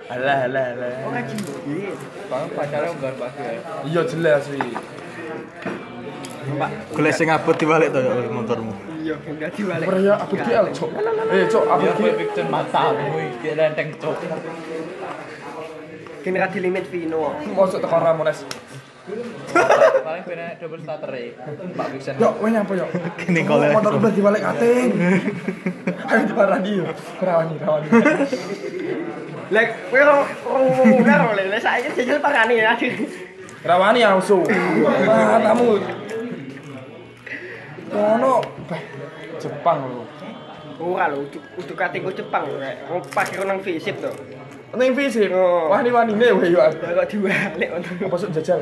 [SPEAKER 1] Alah alah alah.
[SPEAKER 7] Ora jinjit.
[SPEAKER 1] Iya jelas sih.
[SPEAKER 4] Golek sing abot dibalik to ya motormu.
[SPEAKER 7] Iya, ben dadi balik.
[SPEAKER 1] Ora ya aku GL cok. Eh cok aku GL.
[SPEAKER 5] mata kuwi lenteng cok.
[SPEAKER 7] Gini ra di limit Vino.
[SPEAKER 1] Masuk teko Ramones.
[SPEAKER 5] paling bener double starter ya Pak Biksen
[SPEAKER 1] Yo, wene apa yo?
[SPEAKER 4] Kene
[SPEAKER 1] Oh,
[SPEAKER 4] golek.
[SPEAKER 1] Motor udah dibalik kating. Ayo diparani yo. Rawani, rawani.
[SPEAKER 7] Lek kowe ora ngomongnar oleh lek saiki jajal parani ya.
[SPEAKER 1] Rawani ya, ausu. Matamu. Ono bah, Jepang lho.
[SPEAKER 7] Ora lho, Oh, ujuk- ujuk katingku Jepang lho kayak. Opak kira nang fisip to.
[SPEAKER 1] Ning fisik.
[SPEAKER 7] Oh.
[SPEAKER 1] Wah, ini wanine wae yo.
[SPEAKER 7] Lah kok diwalik ngono.
[SPEAKER 1] Apa sok jajal?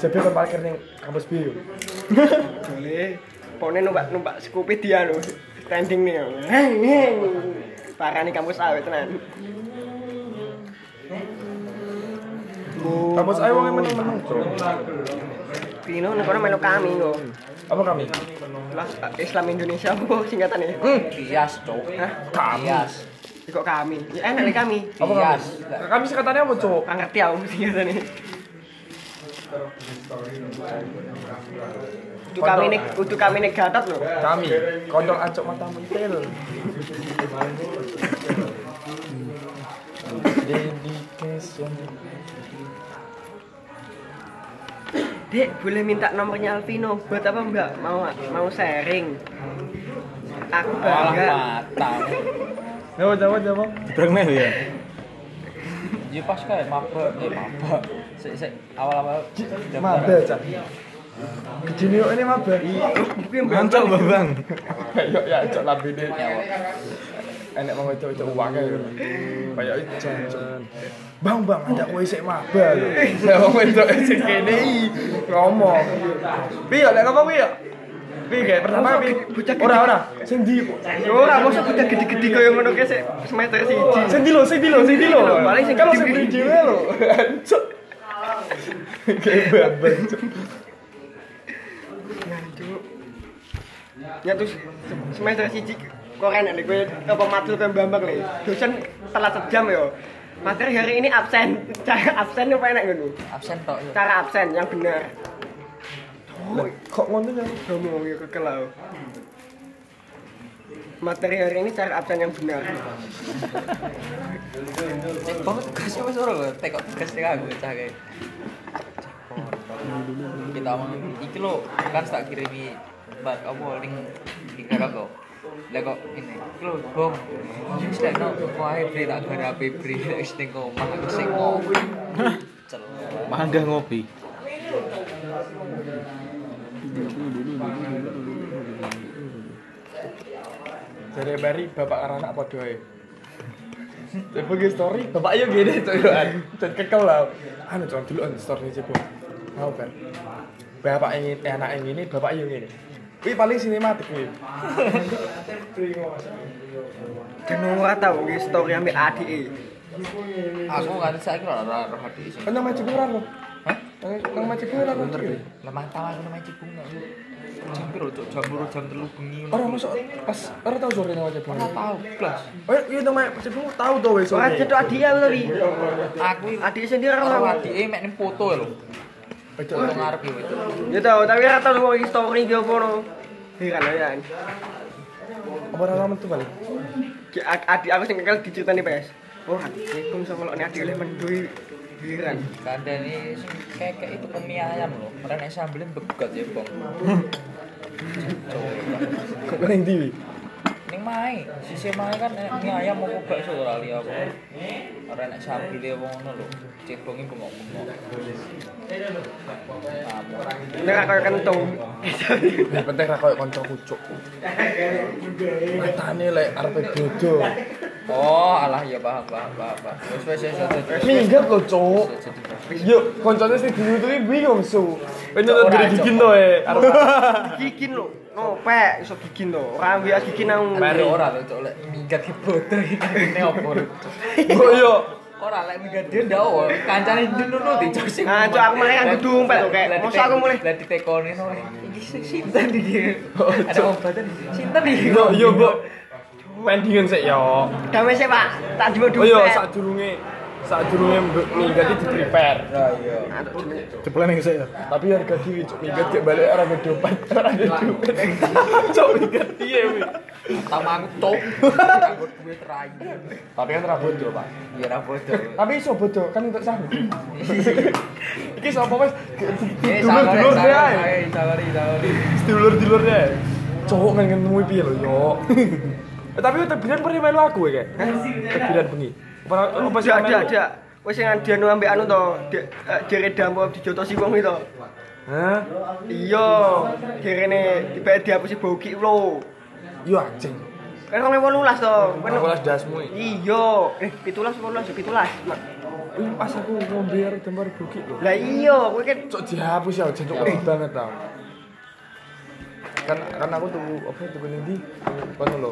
[SPEAKER 1] Jabe kon parkir ning kampus B yo.
[SPEAKER 7] Boleh. Pone numpak numpak Scoopy dia lho. Trending nih. Heng heng. Parani kampus awet tenan.
[SPEAKER 1] Kampus ae wong meneng-meneng. Cok.
[SPEAKER 7] Vino nek ora melu kami kok.
[SPEAKER 1] Apa kami?
[SPEAKER 7] Lah Islam Indonesia apa singkatannya?
[SPEAKER 5] bias cok
[SPEAKER 7] Hah?
[SPEAKER 1] Kami.
[SPEAKER 5] bias
[SPEAKER 7] Kok kami? Ya enak nih kami.
[SPEAKER 1] Apa kami?
[SPEAKER 5] bias
[SPEAKER 1] Kami singkatannya apa, Cok?
[SPEAKER 7] Nggak ngerti aku e. singkatannya. Untuk kami nih, untuk kami nih gatot loh.
[SPEAKER 1] Kami. Kocok acok matamu itil. Dedication.
[SPEAKER 7] Dek, boleh minta nomornya Alvino buat apa Mbak? Mau mau sharing. Aku
[SPEAKER 5] malah
[SPEAKER 7] bangga.
[SPEAKER 5] mata
[SPEAKER 1] Jawab, jawab, jawab.
[SPEAKER 4] Dibrengnya ya.
[SPEAKER 5] ya pas kayak mabak eh mabak sik sik awal-awal
[SPEAKER 1] Mabah, Cak. Gede yuk ini mabah.
[SPEAKER 4] Ngancok, Bang.
[SPEAKER 1] Kayak ya cok labine. Enak mau cok-cok uang ae. Kayak ijan. Cok. Bang, bang, ada kowe sik mabah. lho. Lah wong wedok sik kene iki ngomong. Piye lek ngomong piye? Piye Ge? pertama piye?
[SPEAKER 7] Bocah gede.
[SPEAKER 1] Ora, ora. Sing ndi, Po?
[SPEAKER 7] Ya Ora mosok udah gede-gede kaya ngono kae sik semester siji.
[SPEAKER 1] Sing di lo, sing di lo, sing di lo.
[SPEAKER 7] Paling sing
[SPEAKER 1] kalau
[SPEAKER 7] gede
[SPEAKER 1] sing
[SPEAKER 7] kuwi.
[SPEAKER 1] beli dhewe lo. Cuk. Kayak babak. Cuk.
[SPEAKER 7] Ya terus se- semester siji kok enak nih gue apa matkul ke Bambang nih. Dosen telat sejam yo. Materi hari ini absen. Cara absen apa enak ngono?
[SPEAKER 5] absen tok ya.
[SPEAKER 7] Cara absen yang benar.
[SPEAKER 1] Lah, Kok ngono ya?
[SPEAKER 7] Ngomong ya kekelau. Materi hari ini cara absen yang benar.
[SPEAKER 5] Cebong tugas wis ora lho, tekok tugas sing aku cah kae. Kita omong iki lho, kan tak kirimi bar apa link di kakak kok. Lah kok ini, iki lho bong. Wis lek no wae bre tak gara HP bre lek sing omah aku sing ngopi. Cel.
[SPEAKER 4] Manggah ngopi.
[SPEAKER 1] Dari bari bapak karo anak padha ae. Cepo ge story, bapak yo gini tuh kan. Dan kekel lah. Anu jangan dulu on story cepo. Mau kan. Bapak ingin eh, anak yang ini, bapak yo ngene. Kuwi paling sinematik kuwi.
[SPEAKER 7] Dan ora tau ki story ambek adike.
[SPEAKER 5] Aku kan saiki ora ora roh ati iso.
[SPEAKER 1] Kan nama cepo ora lo. Hah? Nang macam ora lo.
[SPEAKER 5] Lah mantap aku nama cebong nek. Jam piro cok? Jam piro jam 3 bengi.
[SPEAKER 1] Ora masuk pas ora tau sore nang cepo.
[SPEAKER 5] Ora tau blas.
[SPEAKER 1] Oh, iya dong, Mak. Cepu tahu tuh, wes.
[SPEAKER 7] Ora cetok adike aku tapi.
[SPEAKER 5] Aku iki
[SPEAKER 7] Adike sendiri ora
[SPEAKER 5] karo
[SPEAKER 7] tau.
[SPEAKER 5] adike mek ning foto lho. Foto ngarep ya itu.
[SPEAKER 7] Ya tau, tapi ora tau ngomong story ki opo no. Heran ya.
[SPEAKER 1] Apa ora metu balik?
[SPEAKER 7] Ki- ad- Adik aku sing kekel diceritani PS. Oh, adikku iso ngelokne adik oleh mendui. Heran.
[SPEAKER 5] Kandani sing kekek itu pemi ayam loh. Mereka nek sambelin begot ya, Bong.
[SPEAKER 1] Kok ning ndi?
[SPEAKER 5] Ning mae, sisi mae kan enek mie ayam mau bakso ora li apa. Ora nek sambelin apa ngono lho. Cebongi bengok-bengok.
[SPEAKER 7] Bener aku kentung.
[SPEAKER 1] Yang penting ra koyo kanca kucuk. Matane lek arepe bodo.
[SPEAKER 5] Oh, alah ya paham, paham, paham. paham. Wes wes wes wes, wes.
[SPEAKER 1] Minggat lo, Cuk. Yo, koncone sing dinututi bingung su. Penyulut
[SPEAKER 5] Ora,
[SPEAKER 1] gede
[SPEAKER 5] Cuk.
[SPEAKER 1] dikin to e.
[SPEAKER 7] Eh, Gikin lo. Ngopek iso gikin lo. Ora ambek gikin nang.
[SPEAKER 5] Baru ora lho, Cuk, lek minggat ki bodoh iki ne opo lho. Cuk?
[SPEAKER 1] Oh yo.
[SPEAKER 5] Ora lek minggat dia ndak oh, kancane nunuti Cuk sing.
[SPEAKER 7] Nah, Cuk, aku malah yang gedung, Pak, Cuk, kayak,
[SPEAKER 5] Lah,
[SPEAKER 7] Eh, mosok aku mulai-
[SPEAKER 5] Lah ditekoni no. Iki sing sinten iki?
[SPEAKER 1] Oh,
[SPEAKER 5] Ada
[SPEAKER 1] Cuk.
[SPEAKER 5] obatan sinten iki?
[SPEAKER 1] Yo yo, Mbok. Pendingan sik yo.
[SPEAKER 7] Damai sih, Pak. Tak
[SPEAKER 1] Oh
[SPEAKER 7] dua dua.
[SPEAKER 1] yo, sak durunge. saat durungnya minggat itu di prepare
[SPEAKER 4] Ceplen yang saya.
[SPEAKER 1] tapi harga diri cok minggat kayak balik orang ada dompet orang ada dompet cok minggat iya wi pertama aku cok rambut gue terakhir tapi kan rambut tuh pak
[SPEAKER 3] Iya rambut dong.
[SPEAKER 1] tapi iso bodoh kan untuk sanggup iki sapa ya? wes
[SPEAKER 3] Eh,
[SPEAKER 1] dulur
[SPEAKER 3] sabar,
[SPEAKER 1] dulur deh
[SPEAKER 3] sabar,
[SPEAKER 1] ay.
[SPEAKER 3] eh, sabar, sabar.
[SPEAKER 1] dulur dulur deh cowok kan ngetemui piye lho yo Eh, tapi tebiran pernah melu aku ya kayak tebiran bengi Apa- apa sih
[SPEAKER 7] Ada, ada,
[SPEAKER 1] melu?
[SPEAKER 7] ada. Wes sing Dianu ambek anu to, Dek- eh, Dere Dampo dijotosi wong itu.
[SPEAKER 1] Hah?
[SPEAKER 7] Iya, derene tiba dihapusi bogi lho.
[SPEAKER 1] Yo anjing.
[SPEAKER 7] Kan 2018 to. Kan
[SPEAKER 1] Aku las dasmu iki.
[SPEAKER 7] Iya, eh 17 18 ya, 17.
[SPEAKER 1] Wih, Pas aku ngombe karo gambar bukit lho.
[SPEAKER 7] Lah iya, kowe kan
[SPEAKER 1] Cok dihapus ya, jentuk
[SPEAKER 7] Iya.
[SPEAKER 1] pedih banget tau. Kan kan aku tuh apa tuh nanti kono lho.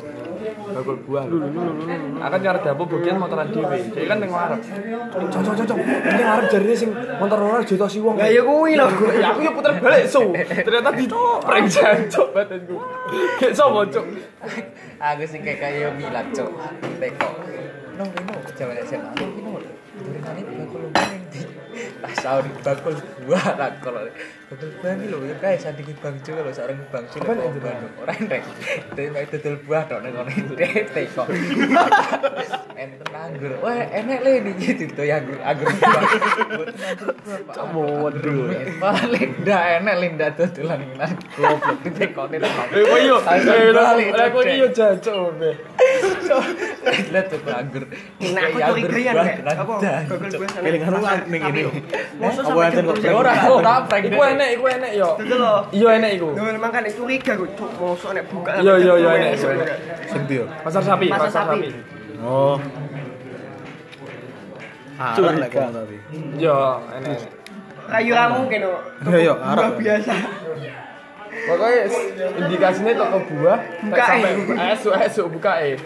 [SPEAKER 1] Bakul buah lho. Akan nyari dapur bagian motoran dhewe. Jadi kan ning ngarep. Cok cok cok, cok. Ning ngarep jarine sing motor ora jotosi wong.
[SPEAKER 7] Lah ya kuwi lho.
[SPEAKER 1] Ya aku ya puter balik so. Ternyata di prank jancuk badanku. Kayak sapa cok?
[SPEAKER 3] Aku sih kayak kayak Milan cok. Teko. No, no, coba lihat siapa. No, no. Dari kali bakul main di tasawur bakul buah lah kalau bakul buah ini loh ya kayak sandingi bangcu kalau seorang bangcu lah kok buah dong orang rek tapi pakai dodol buah dong neng orang itu teko enten anggur wah enak lah ini gitu tuh ya anggur anggur buah Boten anggur buah pak
[SPEAKER 1] Waduh.
[SPEAKER 3] paling ndak enak linda dodolan nang goblok ditekone nang
[SPEAKER 1] Eh, kowe yo. Eh, lho,
[SPEAKER 3] balik,
[SPEAKER 1] lho, kowe
[SPEAKER 3] Dek.
[SPEAKER 1] yo jancuk Mbak.
[SPEAKER 3] Lihat tuh anggur.
[SPEAKER 7] Nah, aku
[SPEAKER 3] Kayak
[SPEAKER 7] curiga ya,
[SPEAKER 3] anggur
[SPEAKER 7] Nek.
[SPEAKER 3] buah,
[SPEAKER 7] Apa?
[SPEAKER 3] dan-
[SPEAKER 7] Google gue sana.
[SPEAKER 4] Kelingan lu
[SPEAKER 7] Tapi
[SPEAKER 4] ning ini.
[SPEAKER 7] lho, Mosok
[SPEAKER 4] Apa
[SPEAKER 7] sampai
[SPEAKER 4] enten kok
[SPEAKER 7] jam
[SPEAKER 1] Ora,
[SPEAKER 3] Aku
[SPEAKER 1] ora
[SPEAKER 3] prank,
[SPEAKER 1] Iya. Iku
[SPEAKER 3] Dek.
[SPEAKER 1] enek, iku enek yo.
[SPEAKER 7] Dodol lho.
[SPEAKER 1] Iya enek iku.
[SPEAKER 7] Lho memang kan curiga gue, cuk, mosok nek buka.
[SPEAKER 1] Iya, iya, iya, iya,
[SPEAKER 7] Mosok
[SPEAKER 1] iya.
[SPEAKER 7] buka.
[SPEAKER 4] Sendi ya.
[SPEAKER 1] Pasar sapi,
[SPEAKER 7] Pasar
[SPEAKER 1] pasar
[SPEAKER 7] sapi.
[SPEAKER 1] sapi.
[SPEAKER 4] Oh. Arek lek kono tapi.
[SPEAKER 1] Yo, enek.
[SPEAKER 7] Kayu ra mungkin kok.
[SPEAKER 4] Iya, iya, arah.
[SPEAKER 7] Buah biasa.
[SPEAKER 1] Pokoknya s- indikasinya toko buah
[SPEAKER 7] Buka,
[SPEAKER 1] tak sampai
[SPEAKER 7] eh.
[SPEAKER 1] esuk esuk buka eh.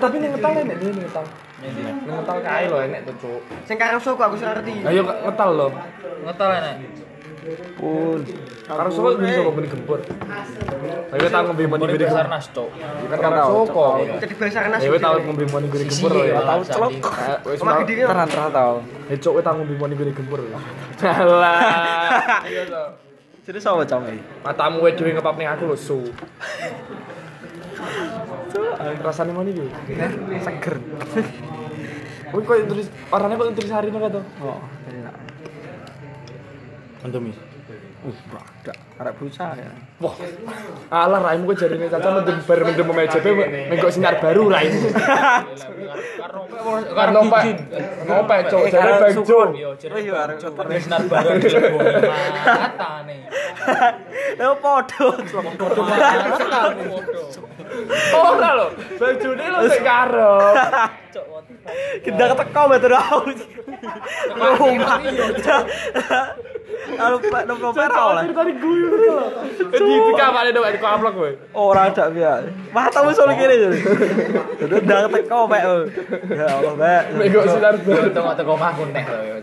[SPEAKER 1] Eh tapi nih ngetal enek nih ngetal. Ning ngetal kae lho enek tuh cuk.
[SPEAKER 7] sing karang suku aku sing ngerti.
[SPEAKER 1] Ayo Kak, ngetal lho.
[SPEAKER 5] ngetal enak
[SPEAKER 1] Pun. Karo soko iki soko ben gempur. Ayo tak ngombe mani gede
[SPEAKER 5] Sarnas cok
[SPEAKER 1] Kan karo soko.
[SPEAKER 7] Jadi bahasa kena
[SPEAKER 1] Ayo tau ngombe mani gede gempur lho. ya.
[SPEAKER 5] tahu celok
[SPEAKER 1] Eh, Wis
[SPEAKER 7] Omah
[SPEAKER 1] mau.
[SPEAKER 7] gede kan.
[SPEAKER 1] Eh cuk wis tak ngombe mani gede gempur. lho. Alah. Iya to.
[SPEAKER 6] Jadi sama cowok ini.
[SPEAKER 1] Matamu wae dhewe ngepap ning aku lho, su. Rasane mau iki. Seger. Kuwi kok tulis warnane kok tulis hari nih to. Oh.
[SPEAKER 4] Antum iki.
[SPEAKER 1] Wah. Alah raimu kok jarine caca mendem bar mendem meja be mengko sinar baru raimu. Karena Pak, kenapa cok? Jadi Bang Jo.
[SPEAKER 6] Oh, iya,
[SPEAKER 5] Resnar baru jelebong mata nih
[SPEAKER 6] Eh, podo.
[SPEAKER 1] Ora lho, Bang Jo ini lho sing karep.
[SPEAKER 6] Kita keteko betul aku. Rumah. Lalu pak nopo perau lah.
[SPEAKER 1] Tadi gue lho. Di kamar itu aku amplok kowe.
[SPEAKER 6] Orang tak biar. Matamu soal kiri jadi. Udah keteko pak. Ya Allah pak.
[SPEAKER 1] Mengko sinar baru.
[SPEAKER 3] Tengok tengok aku Oh, nek loh. ya.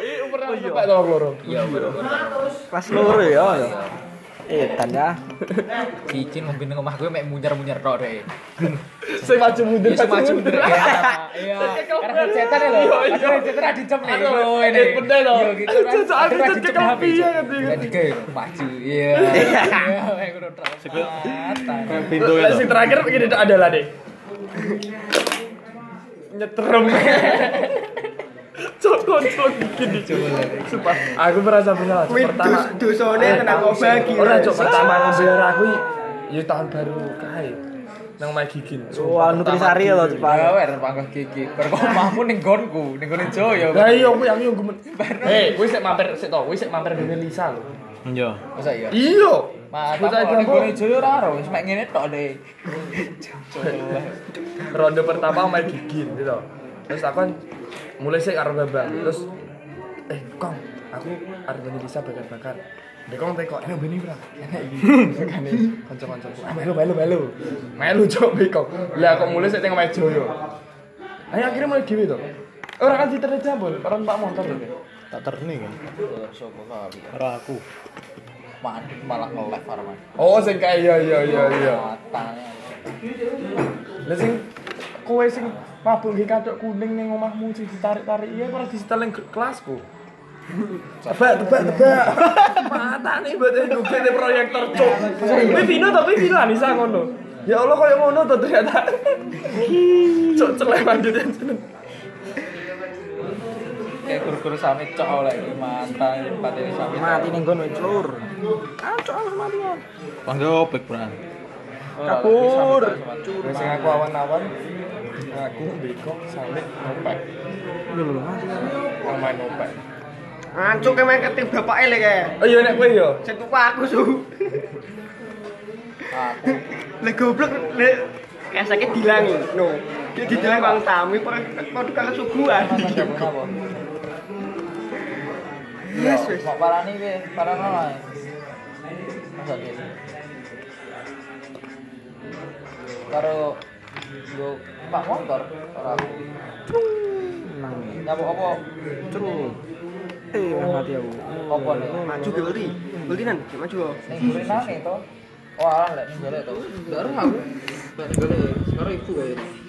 [SPEAKER 1] Ih, umur aku Pak tolong loro.
[SPEAKER 3] Iya bro.
[SPEAKER 6] Kelas loro ya. ya. Eh tanda.
[SPEAKER 3] Cicin ngombe nang omah gue mek munyer-munyer tok deh.
[SPEAKER 1] Sing maju mundur,
[SPEAKER 3] Wis maju mundur. Iya. Karena cetan lho. Karena cetan ada jam nih. Lho ini.
[SPEAKER 1] bener lho.
[SPEAKER 3] Iya gitu kan.
[SPEAKER 1] Cocok aku
[SPEAKER 3] Karena
[SPEAKER 1] cocok
[SPEAKER 3] dicem HP,
[SPEAKER 1] kepiye
[SPEAKER 3] Cok.
[SPEAKER 1] ngerti.
[SPEAKER 3] Jadi ke maju. Iya. Iya, mek kudu tok. Mata.
[SPEAKER 6] Pintu
[SPEAKER 1] Lah, Sing terakhir begini tak ada lah deh. Nyetrum. Cokon cokon gini. Sumpah, aku merasa bersalah. Cok.
[SPEAKER 7] Kuwi
[SPEAKER 1] Pertama,
[SPEAKER 7] dos- dosane tenang kok bagi.
[SPEAKER 1] ora cok pertama ngambil aku ya tahun baru kae. Nang Mai Gigin.
[SPEAKER 6] Wah nutrisari ya loh
[SPEAKER 3] Ya
[SPEAKER 6] cepat.
[SPEAKER 3] wer pangkat gigi. Perkomamu ning gonku, ning gone Jo ya.
[SPEAKER 1] Lah iya aku yang yo gumen. Hei, kowe sik mampir sik to, kowe sik mampir dene Lisa lho.
[SPEAKER 4] Iya.
[SPEAKER 3] Masa iya.
[SPEAKER 1] Iya. Bocah
[SPEAKER 3] Mata ning
[SPEAKER 1] jambu.
[SPEAKER 3] gone Jo ya ora ora. Wis mek ngene tok deh. Cok.
[SPEAKER 1] ronde pertama main gigin gitu terus aku kan mulai sih karo babang terus eh kong aku arep ngene Lisa bakar-bakar Dek kong teko enak beni ora enak iki kane kanca-kancaku Ah, melu melu melu melu cok mbek kong lah kok mulai sik teng meja yo ayo akhirnya mulai dhewe to ora kan diterjah bol orang pak motor lho Dek.
[SPEAKER 4] Tak terni kan.
[SPEAKER 3] Sopo kali.
[SPEAKER 4] Ora aku.
[SPEAKER 3] Man, malah nge-live Arman.
[SPEAKER 1] oh sing kae iya iya iya iya
[SPEAKER 3] Matanya.
[SPEAKER 1] Lah sing kowe sing mabuk nggih katok kuning ning omahmu sing ditarik-tarik iya ora disetel ning kelasku. Tebak, tebak, tebak. Mata nih buat ndukin proyektor cuk. Ini Vino tapi Vino Anissa ngono. Ya Allah kaya ngono to ternyata. Cuk celek lanjutnya.
[SPEAKER 5] kayak guru-guru sami cok oleh mata pati ini sami
[SPEAKER 8] Mati ning kono celur.
[SPEAKER 4] Bang Jopik beran.
[SPEAKER 5] kabur
[SPEAKER 1] Wis aku awan-awan. Aku beko sampe ngopek. Lho lho mati. Main ngopek.
[SPEAKER 7] Ancuk kayak main ketim bapaknya lek kayak.
[SPEAKER 1] Oh iya nek kowe yo.
[SPEAKER 7] Saya tuku aku su. Lek goblok lek kasake dilangi. No. Dia didilang bang tamu per kode karo suguhan.
[SPEAKER 5] yes wes mak parani we parano lah masa dia karo yo pak motor ora nang nyabuk apa
[SPEAKER 8] Eh, mati aku.
[SPEAKER 5] apa nih
[SPEAKER 7] Maju ke beli. Beli nan, Cek maju. oh.
[SPEAKER 5] ning gure nang itu wah lek ning jare to
[SPEAKER 9] Enggak aku. Enggak sekarang ibu kayaknya.